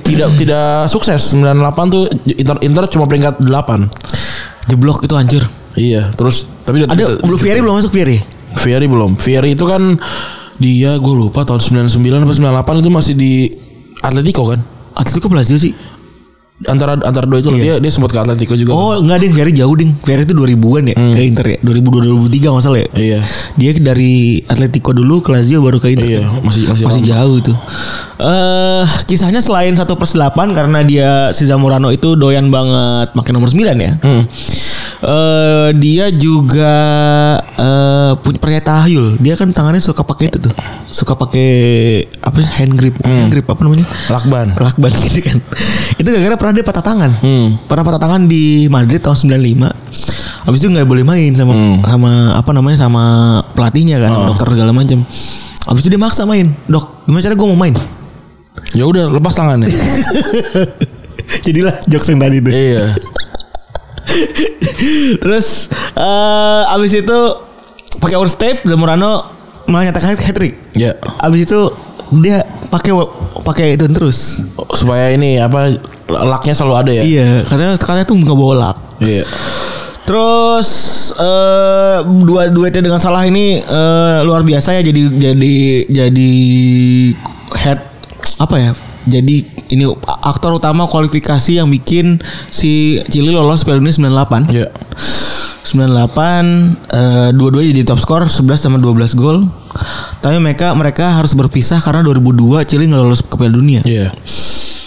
tidak tidak sukses 98 tuh Inter Inter cuma peringkat 8. jeblok itu anjir. Iya, terus tapi Ada belum Fieri belum masuk Fieri. Fieri belum. Fieri itu kan dia gue lupa tahun 99 apa 98 itu masih di Atletico kan. Atletico Brazil sih. Antara antara dua itu dia dia sempat ke Atletico juga. kan? Iya. Oh enggak ding Ferry jauh ding Ferry itu 2000-an ya ke Inter ya 2002 2003 nggak salah ya Iya. dia dari Atletico dulu ke Lazio baru ke Inter Iya, masih- masih lama. jauh itu eh kisahnya selain 1 per 8 karena dia si Zamorano itu doyan banget pakai nomor 9 ya Hmm. Eh dia juga eh punya percaya tahayul dia kan tangannya suka pakai itu tuh suka pakai apa sih hand grip Hmm. hand grip apa namanya Lakban. lakban gitu kan itu gara-gara pernah dia patah tangan pernah patah tangan di Madrid tahun 95 habis itu nggak boleh main sama sama apa namanya sama pelatihnya kan dokter segala macam habis itu dia maksa main dok gimana cara gue mau main Ya udah lepas tangannya. jadilah jokes yang tadi itu iya. terus eh habis itu pakai overstep Zamorano menyatakan hat trick Ya. habis itu dia pakai pakai itu terus Supaya ini apa laknya selalu ada ya. iya katanya katanya tuh nggak bolak Iya. Terus eh dua duetnya dengan salah ini eh, luar biasa ya jadi jadi jadi head apa ya? Jadi ini aktor utama kualifikasi yang bikin si Chili lolos Piala Dunia 98. Iya. 98 eh dua-duanya jadi top skor 11 sama 12 gol. Tapi mereka mereka harus berpisah karena 2002 Chili nggak lolos ke Piala Dunia. Iya.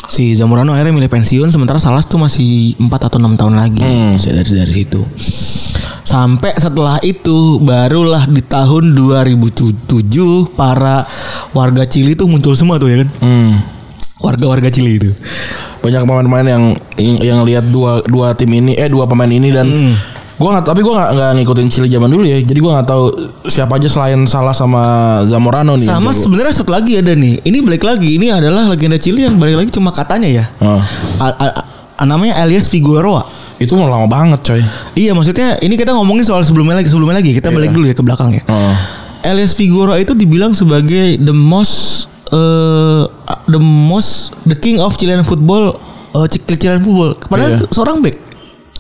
Si Zamorano akhirnya milih pensiun sementara Salas tuh masih 4 atau 6 tahun lagi Bisa dari dari situ. Sampai setelah itu barulah di tahun 2007 para warga Chili tuh muncul semua tuh ya kan. Hmm. Warga-warga Chili itu. Banyak pemain-pemain yang yang, yang lihat dua dua tim ini eh dua pemain ini dan Gua nggak tapi gua nggak- nggak ngikutin Chili zaman dulu ya. Jadi gua nggak tahu siapa aja selain Salah sama Zamorano nih. Jago. Sama sebenarnya satu lagi ada nih. Ini balik lagi ini adalah legenda Chili yang balik lagi cuma katanya ya. Ah. A- a- a- namanya Elias Figueroa. Itu mau lama banget coy. Iya maksudnya ini kita ngomongin soal sebelumnya lagi sebelumnya lagi kita balik dulu ya ke belakang ya. Heeh. Elias Figueroa itu dibilang sebagai the most eh the most the king of Chilean football eh Ch- Chilean football. Padahal Iya. seorang back.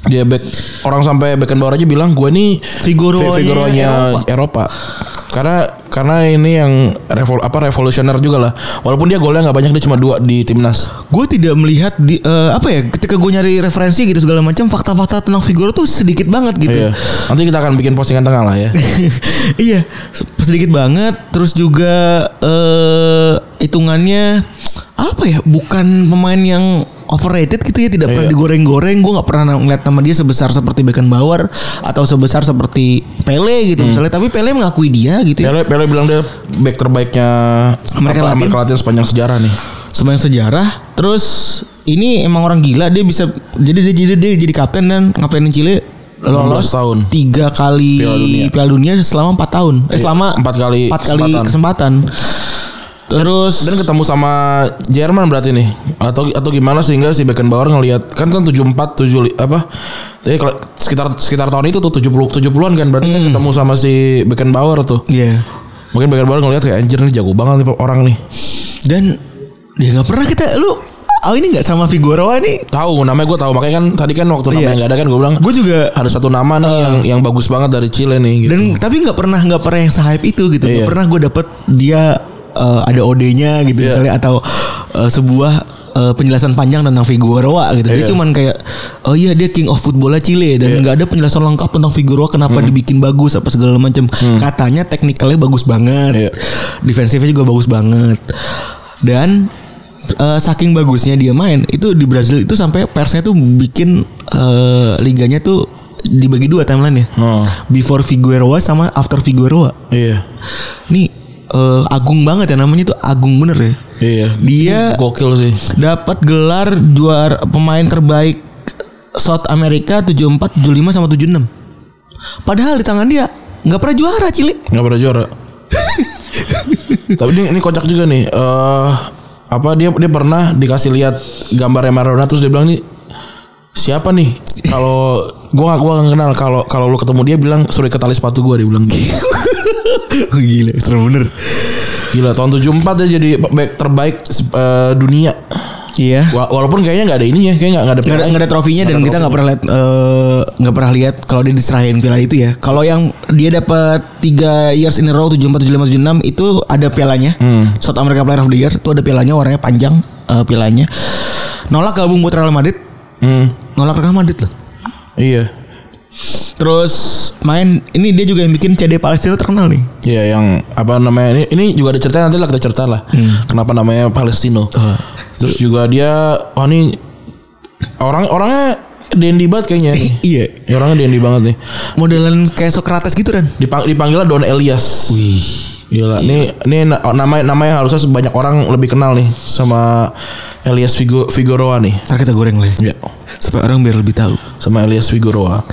dia back orang sampai Beckenbauer aja bilang gue nih Figueroa-nya fi- Figueroa-nya Eropa. karena karena ini yang revol apa revolusioner juga lah walaupun dia golnya nggak banyak dia cuma dua di timnas Gue tidak melihat di eh, apa ya ketika gue nyari referensi gitu segala macam fakta-fakta tentang Figueroa tuh sedikit banget gitu. iya nanti kita akan bikin postingan tengah lah ya iya se- sedikit banget terus juga eh hitungannya apa ya bukan pemain yang overrated gitu ya tidak pernah Iya. digoreng-goreng gue nggak pernah ngeliat nama dia sebesar seperti Beckenbauer atau sebesar seperti Pele Hmm. gitu misalnya tapi Pele mengakui dia gitu ya Pele, Pele bilang dia back terbaiknya Amerika apa, Latin. Amerika Latin sepanjang sejarah nih sepanjang sejarah terus ini emang orang gila dia bisa jadi dia jadi dia jadi kapten dan kaptenin Chile 16 lolos tahun. tiga kali Piala dunia. Iya, Piala Dunia, selama 4 tahun eh selama empat kali empat kali kesempatan. kesempatan. Terus dan ketemu sama Jerman berarti nih atau atau gimana sehingga si Beckenbauer ngelihat kan kan 74 7 apa jadi kalau sekitar sekitar tahun itu tuh 70 70-an kan berarti kan ketemu sama si Beckenbauer tuh Iya. mungkin Beckenbauer ngelihat kayak anjir nih jago banget nih orang nih Dan ya nggak pernah kita lu oh ini nggak sama Figueroa nih. tahu namanya gue tahu makanya kan tadi kan waktu namanya Iya. Ah. nggak ada kan gue bilang Gue juga ada satu nama nih yang yang bagus banget dari Chile nih gitu. dan tapi nggak pernah nggak pernah yang sehype itu gitu. Iya. Nggak pernah gue dapet dia eh, ada OD-nya gitu Iya. misalnya atau eh, sebuah eh, penjelasan panjang tentang Figueroa gitu. Dia Iya. cuman kayak oh iya dia king of football Chile dan nggak ada penjelasan lengkap tentang Figueroa Hmm. kenapa dibikin bagus apa segala macam. Katanya teknikalnya bagus banget. Iya. Defensifnya juga bagus banget. Dan eh, saking bagusnya dia main, itu di Brazil itu sampai persnya tuh bikin eh, liganya tuh dibagi dua timeline ya. Oh. Before Figueroa sama after Figueroa. iya Nih eh, agung banget ya namanya tuh agung bener ya. iya Dia- gokil sih Dapat gelar juara pemain terbaik South America 74, 75 sama 76. Padahal di tangan dia nggak pernah juara Cili. nggak pernah juara. Tapi ini, ini kocak juga nih. Eh apa dia dia pernah dikasih lihat gambarnya Maradona terus dia bilang nih siapa nih? Kalau gua gak gua gak kenal kalau kalau lu ketemu dia bilang suruh ke tali sepatu gua dia bilang gitu. Gila, serem bener. Gila tahun 74 dia jadi back terbaik eh, dunia. Iya. Wa- Walaupun kayaknya nggak ada ininya, kayaknya nggak nggak ada nggak ada, piala. Iya. nggak ada trofinya dan kita nggak pernah lihat eh, nggak pernah lihat kalau dia diserahin piala itu ya kalau yang dia dapat tiga years in a row tujuh empat tujuh lima tujuh enam itu ada pialanya South America Player of the Year itu ada pialanya warnanya panjang eh, pialanya nolak gabung buat Real Madrid Hmm, nolak Real Madrid loh iya. terus main ini dia juga yang bikin CD Palestina terkenal nih Iya yang apa namanya ini ini juga ada cerita nanti lah kita cerita lah kenapa namanya Palestino. Terus juga dia wah ini orang orangnya dendi banget kayaknya. iya Ya, orangnya dendi banget nih. modelan kayak Socrates gitu kan Dipang, dipanggilnya Don Elias. Wih. iya. Gila, nih nih na- nama nama yang harusnya banyak orang lebih kenal nih sama Elias Figo, Figueroa nih. ntar kita goreng lah ya. Iya. supaya orang biar lebih tahu Sama Elias Figueroa.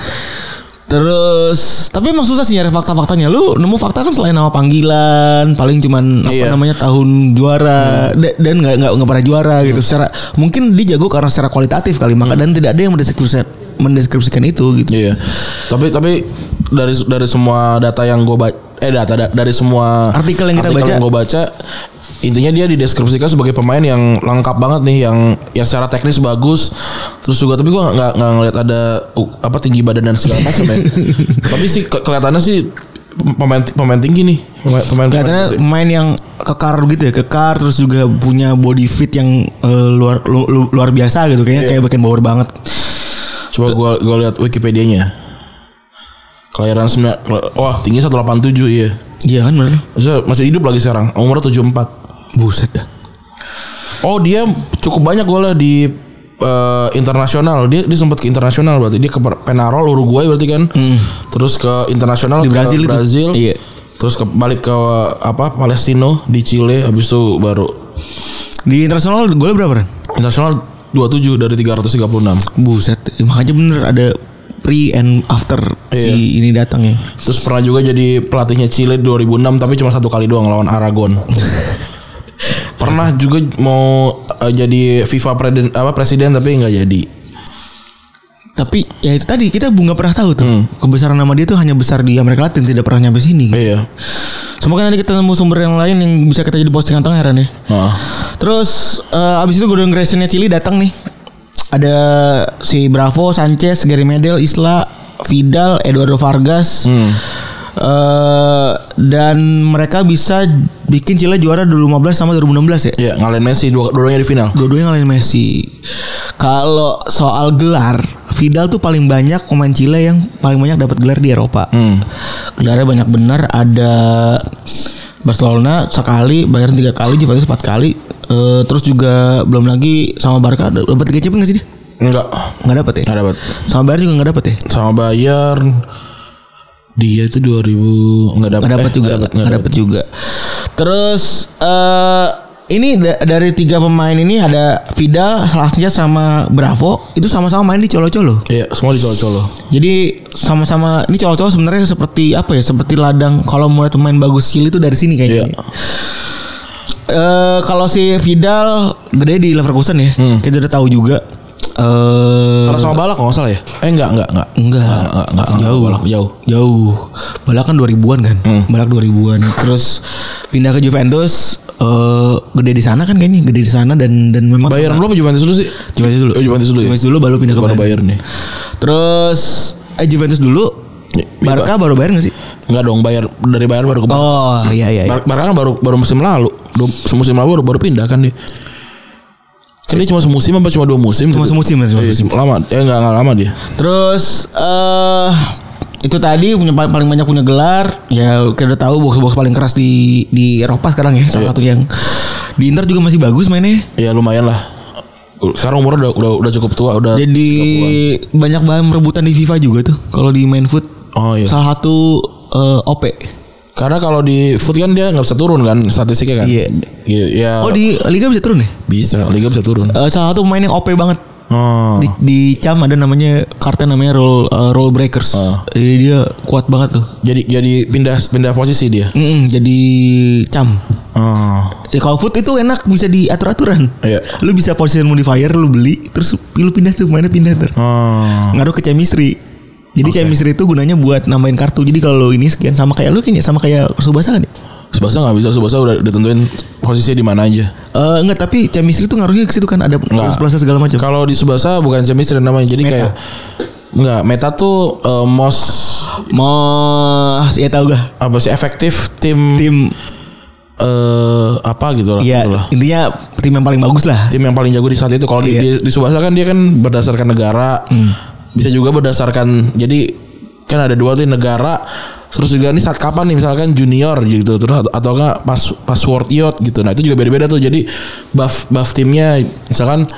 Terus tapi emang susah sih nyari fakta-faktanya. Lu nemu fakta kan selain nama panggilan, paling cuman Iya. Hmm. apa namanya tahun juara da- dan nggak nggak nggak pernah juara gitu. Secara mungkin dia jago karena secara kualitatif kali maka dan tidak ada yang mendeskripsikan mendeskripsikan itu gitu. Hmm. Iya. Tapi tapi dari dari semua data yang gue baca eh data da- dari semua Artikel yang kita baca. gue baca intinya dia dideskripsikan sebagai pemain yang lengkap banget nih yang yang secara teknis bagus terus juga tapi gue nggak nggak ngeliat ada uh, apa tinggi badan dan segala macam ya tapi sih ke- kelihatannya sih pemain pemain tinggi nih pemain pemain Kelihatannya main yang kekar gitu ya, kekar terus juga punya body fit yang eh, luar lu- lu- luar biasa gitu kayaknya Iya. kayak bagian bawah banget. coba gue gue lihat Wikipedia-nya kelahiran sembilan wah tinggi 187 iya Iya kan bener. Maksudnya masih hidup lagi sekarang umurnya 74 Buset dah. Oh dia cukup banyak golnya di eh, internasional. Dia dia sempat ke internasional berarti dia ke Per- Penarol Uruguay berarti kan. Terus ke internasional Hmm. Di ke Brazil itu. Brazil. Iya. Terus ke, balik ke apa Palestino di Chile habis itu baru Di internasional golnya berapa? Ren? internasional 27 dari 336. Buset, ya makanya bener ada pre and after si ini datang ya. Terus pernah juga jadi pelatihnya Chile 2006 tapi cuma satu kali doang lawan Aragon. pernah juga mau eh, jadi FIFA presiden apa presiden tapi nggak jadi. Tapi ya itu tadi kita bu- nggak pernah tahu tuh kebesaran nama dia tuh hanya besar di Amerika Latin tidak pernah nyampe sini. kan? Iya. Semoga nanti kita nemu sumber yang lain yang bisa Nah. kita jadi postingan tengah heran ya. Heeh. Terus eh, abis itu Gordon Graysonnya Chili datang nih. ada si Bravo, Sanchez, Gary Medel, Isla, Vidal, Eduardo Vargas. Eh, dan mereka bisa bikin Chile juara 2015 sama 2016 ya. Ya ngalahin Messi dua duanya di final. Dua-duanya ngalahin Messi. Kalau soal gelar, Vidal tuh paling banyak pemain Chile yang paling banyak dapat gelar di Eropa. Gelarnya banyak benar. Ada Barcelona sekali, Bayern tiga kali, Juventus empat kali. Eh, terus juga belum lagi sama Barca dapat Liga Champions nggak sih dia? Enggak. Nggak dapat ya? Enggak dapat. Sama Bayern juga nggak dapat ya? Sama Bayern dia itu 2000 enggak dapat. Eh, Nggak dapat juga, nggak dapat juga. Terus eh ini da- dari tiga pemain ini ada Vidal, Salasnya sama Bravo itu sama-sama main di Colo-Colo. Iya, semua dicolo-colo. Jadi sama-sama ini cowok-cowok sebenarnya seperti apa ya? Seperti ladang kalau mulai pemain bagus Chili itu dari sini kayaknya. Iya. Eh, kalau si Vidal gede di Leverkusen ya. Hmm. Kita udah tahu juga. Eh Karena sama Balak kalau nggak salah ya? Eh enggak, enggak, enggak. enggak, enggak, Ah, enggak, enggak, Hmm. jauh. Balak jauh. Jauh. Balak kan 2000-an kan? Balak 2000-an. Terus pindah ke Juventus eh gede di sana kan kayaknya, gede di sana dan dan memang Bayern dulu apa Juventus dulu sih? Juventus dulu. Oh, Juventus dulu ya? Juventus dulu baru pindah ke Baru Bayern. Bayern ya. nih. Terus eh Juventus dulu Ya, Barca baru Bayern gak sih? Enggak dong, Bayern dari Bayern baru ke Barca. Oh iya iya. iya. Bar- Barca kan baru baru musim lalu. Dua, semusim lalu baru, baru pindah kan dia. Kan dia cuma semusim apa cuma dua musim? Cuma gitu? semusim, cuma Iya, semusim. Lama, ya enggak, enggak lama dia. Terus eh itu tadi punya pa- paling banyak punya gelar ya kita udah tahu box box paling keras di di Eropa sekarang ya salah satu yang di Inter juga masih bagus mainnya Ya lumayan lah. Sekarang umurnya udah udah, udah cukup tua, udah jadi banyak bahan rebutan di FIFA juga tuh kalau di main foot Oh iya. salah satu eh, OP Karena kalau di foot kan dia nggak bisa turun kan statistiknya kan. Iya. Iya. Ya, oh di Liga bisa turun ya bisa liga bisa turun. Eh, salah satu pemain yang OP banget oh. di, di CAM ada namanya kartu namanya roll eh, roll breakers jadi dia kuat banget tuh Jadi jadi pindah pindah posisi dia. Mm-mm, jadi CAM Oh. Ya, kalau food itu enak bisa diatur aturan. Iya. Lu bisa position modifier lu beli terus lu pindah tuh mainnya pindah ter. Oh. Ngaruh ke chemistry. Jadi chemistry itu gunanya buat nambahin kartu. Jadi kalau ini sekian sama kayak lu kayaknya sama kayak Subasa kan ya? Subasa nggak bisa, Subasa udah ditentuin posisinya di mana aja. Eh, enggak tapi chemistry itu ngaruhnya ke situ kan ada proses segala macam. Kalau di Subasa bukan chemistry namanya, jadi Meta. kayak nggak meta tuh eh, most Mau ya tahu gak? apa sih efektif tim eh Tim apa gitu lah, ya gitu lah. intinya tim yang paling bagus lah. tim yang paling jago di saat itu. Kalau di, di, Iya. Hmm. di Subasa kan dia kan berdasarkan negara, bisa juga berdasarkan jadi kan ada dua tuh negara, terus juga ini saat kapan nih misalkan junior gitu, terus atau, atau enggak pas pas world youth gitu. Nah itu juga beda-beda tuh. Jadi buff buff timnya misalkan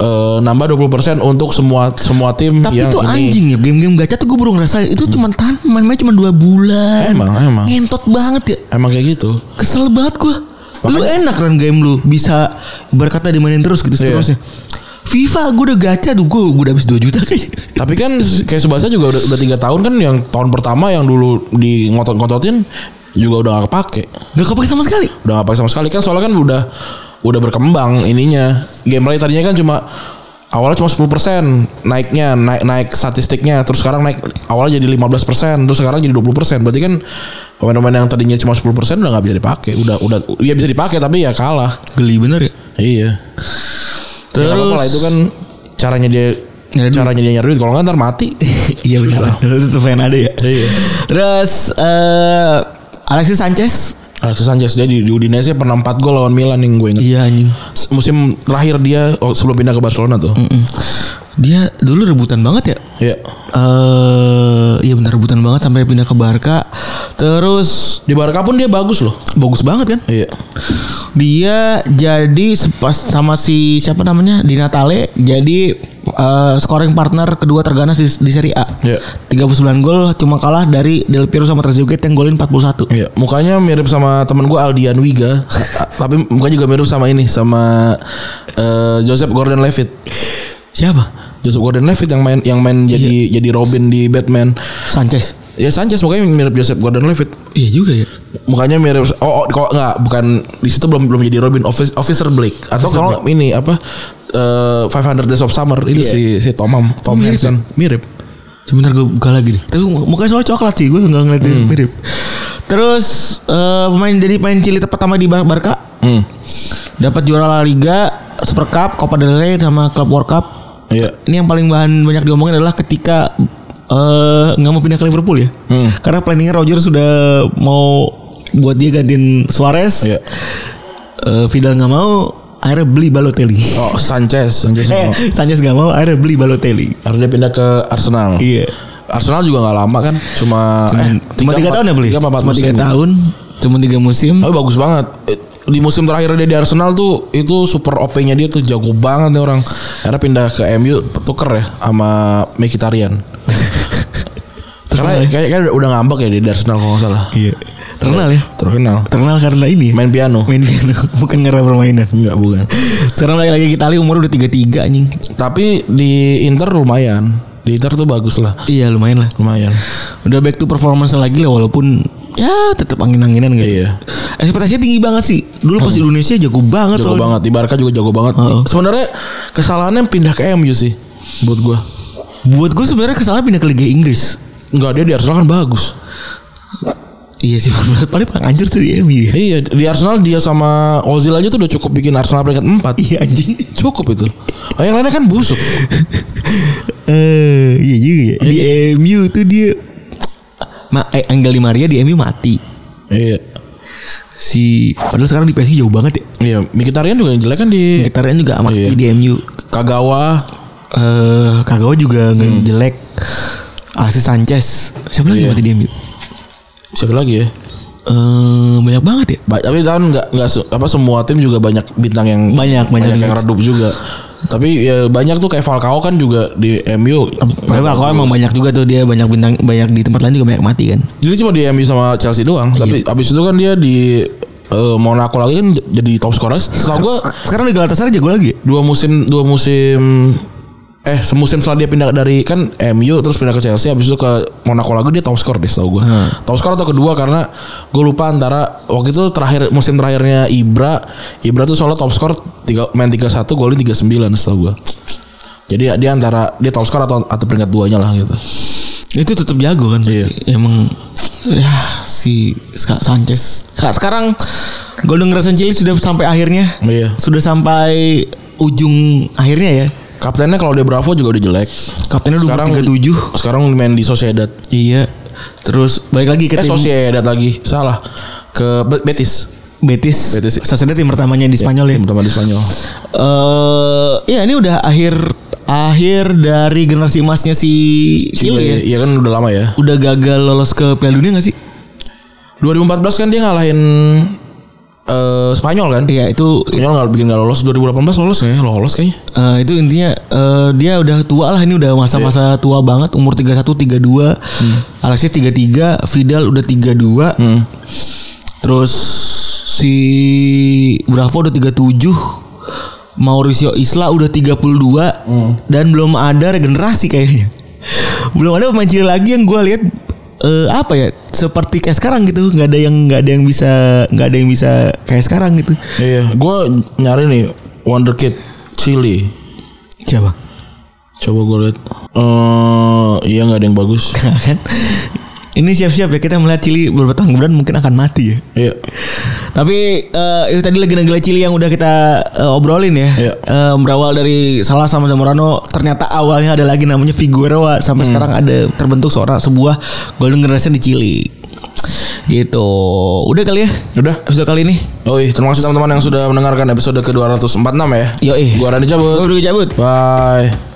eh, nambah 20% untuk semua semua tim Tapi yang itu ini. anjing ya game-game gacha tuh gue baru ngerasain itu cuma tahan main-main cuma 2 Eh, bulan. Emang emang Ngentot banget ya. emang kayak gitu. Kesel banget gue Lu enak run game lu Bisa berkata dimainin terus gitu Iya. seterusnya FIFA gue udah gacha tuh Gue gue udah habis 2 juta kayaknya Tapi kan kayak Subasa juga udah, udah tiga tahun kan yang tahun pertama yang dulu di ngotot-ngototin juga udah gak kepake. Gak kepake sama sekali udah nggak pakai sama sekali kan soalnya kan udah udah berkembang ininya gameplay tadinya kan cuma awalnya cuma 10% naiknya naik naik statistiknya terus sekarang naik awalnya jadi 15% terus sekarang jadi 20% berarti kan pemain-pemain yang tadinya cuma 10% udah nggak bisa dipakai udah udah ya bisa dipakai tapi ya kalah Geli bener ya iya terus ya, nggak apa-apa lah, itu kan caranya dia Nyari duit. caranya dia nyari duit kalau nggak ntar mati Iya bener Itu tuh fan ada ya Iya. Terus eh Alexis Sanchez Alexis Sanchez dia di, di Udinese pernah 4 gol lawan Milan yang gue inget Iya anjing musim terakhir dia oh, sebelum pindah ke Barcelona tuh Dia dulu rebutan banget ya Iya. Eh Iya bener rebutan banget Sampai pindah ke Barca Terus Di Barca pun dia bagus loh. Bagus banget kan Iya. Dia jadi pas sama si siapa namanya Di Natale jadi eh, scoring partner kedua terganas di, di Serie A. Iya. 39 gol cuma kalah dari Del Piero sama Trezeguet yang golin 41. Iya, mukanya mirip sama temen gue Aldian Wiga, A- tapi mukanya juga mirip sama ini sama eh, Joseph Gordon-Levitt. Siapa? Joseph Gordon-Levitt yang main yang main jadi Iya. jadi Robin di Batman. Sanchez. Ya Sanchez mukanya mirip Joseph Gordon-Levitt. Iya juga ya. Mukanya mirip oh, oh kok nggak bukan di situ belum belum jadi Robin Office, Officer Blake Oh, atau kalau ini apa eh, 500 Days of Summer itu si si Tomam Tom Iya. Mirip Hanks kan. mirip. Sebentar gue buka lagi nih. Tapi mukanya soalnya coklat sih, gue nggak ngeliat Hmm. dia mirip. Terus eh, pemain dari pemain Chili pertama di Bar- Barca Hmm. dapat juara La Liga, Super Cup, Copa del Rey sama Club World Cup. Iya. ini yang paling bahan banyak diomongin adalah ketika eh, nggak mau pindah ke Liverpool ya. Hmm. Karena planningnya Roger sudah mau buat dia gantiin Suarez. Iya. Eh, Vidal nggak mau, akhirnya beli Balotelli. Oh Sanchez, Sanchez eh, mau- Sanchez nggak mau, akhirnya beli Balotelli. harus dia pindah ke Arsenal. Iya. Arsenal juga nggak lama kan, cuma Cuma, eh, cuma tiga empat- tahun ya beli. Tiga, empat cuma musim. tiga tahun, cuma tiga musim. Tapi bagus banget. Eh, Di musim terakhir dia di Arsenal tuh itu super OP-nya dia tuh jago banget nih orang. Karena pindah ke MU tuker ya sama Mkhitaryan. Karena kayak kayak udah- udah ngambek ya dia di Arsenal kalau nggak salah. Iya. Terkenal ya. Terkenal. Terkenal karena ini. ya? Main piano. Main piano, bukan karena permainan. Enggak bukan. Sekarang lagi lagi Italia umur udah 33 anjing. Tapi di Inter lumayan. Di Inter tuh bagus lah. Iya, lumayan lah. Lumayan. Udah back to performance lagi lah walaupun ya tetap angin-anginan gitu. Iya. Oh. Ekspektasinya tinggi banget sih. Dulu pas Indonesia jago banget Jago soalnya. banget. Di Barca juga jago banget. Heeh. Sebenarnya kesalahannya pindah ke MU sih buat gua. Buat gue sebenarnya kesalahan pindah ke Liga Inggris. Enggak dia di Arsenal kan bagus. Iya sih, paling paling anjir tuh di MU. ya. Iya, di Arsenal dia sama Ozil aja tuh udah cukup bikin Arsenal peringkat 4. Iya anjing. Cukup itu. Oh, yang lainnya kan busuk. Eh, iya juga ya. Di MU tuh dia Ma, eh, Angel Di Maria di MU mati. iya. Si padahal sekarang di PSG jauh banget ya. Iya, Mkhitaryan juga yang jelek kan di Gitarnya juga mati Iya. di MU. Kagawa. Eh, Kagawa juga nggak Hmm. jelek. Alexis Sanchez. Siapa lagi Iya. mati di MU? Siapa lagi ya? Eh, banyak banget ya. Ba- tapi kan nggak nggak se- apa semua tim juga banyak bintang yang Banyak, banyak yang yang- redup juga. Tapi ya, banyak tuh kayak Falcao kan juga di MU. Padahal kalau emang banyak juga tuh dia banyak bintang banyak di tempat lain juga banyak mati kan. Jadi cuma di MU sama Chelsea doang. Tapi abis itu kan dia di eh, Monaco lagi kan j- jadi top scorer. Setahu gua Sekarang di Galatasaray jago lagi. ya? dua musim dua musim eh semusim setelah dia pindah dari kan MU terus pindah ke Chelsea habis itu ke Monaco lagi dia top skor deh setahu gue top skor atau kedua karena gue lupa antara waktu itu terakhir musim terakhirnya Ibra Ibra tuh soalnya top skor tiga main 3-1 golin 3-9 setahu gue jadi dia antara dia top skor atau atau peringkat duanya lah gitu Itu tetap jago kan. berarti. Emang ya si Ska- Sanchez. Ka- Sekarang Golden Crescent Chili sudah sampai akhirnya. Iya. Sudah sampai ujung akhirnya ya. kaptennya kalau dia Bravo juga udah jelek Kaptennya udah 37. sekarang main di Sociedad Iya. Terus balik lagi eh ke tim Sociedad lagi salah ke Be- Betis Betis. Betis. Sociedad tim pertamanya di Spanyol ya. tim utama di Spanyol Eh, ya ini udah akhir akhir dari generasi emasnya si Chile ya. Chile ya kan udah lama ya udah gagal lolos ke Piala Dunia gak sih? 2014 kan dia ngalahin eh, Spanyol kan? Iya itu Spanyol nggak bikin nggak lolos. 2018 lolos nggak ya? Lolos kayaknya. eh, itu intinya eh, dia udah tua lah ini udah masa-masa tua banget umur 31 32 Alexis 33 Vidal udah 32 terus si Bravo udah 37 Mauricio Isla udah 32 dan belum ada regenerasi kayaknya belum ada pemain Chile lagi yang gue lihat eh, apa ya seperti kayak sekarang gitu nggak ada yang nggak ada yang bisa nggak ada yang bisa kayak sekarang gitu Iya, gue nyari nih Wonder Kid Chile. siapa Coba gue lihat. Eh, iya nggak ada yang bagus. kan ini siap-siap ya kita melihat Chili beberapa tahun kemudian mungkin akan mati ya Iya. tapi eh, itu tadi legenda-legenda Chili yang udah kita eh, obrolin ya Iya. Eh, berawal dari Salah sama Zamorano ternyata awalnya ada lagi namanya Figueroa sampai sekarang ada terbentuk seorang sebuah golden generation di Chili gitu udah kali ya Udah. episode kali ini Oh iya, terima kasih teman-teman yang sudah mendengarkan episode ke 246 ya. Yoi. Gue Randy gue cabut. udah cabut Bye.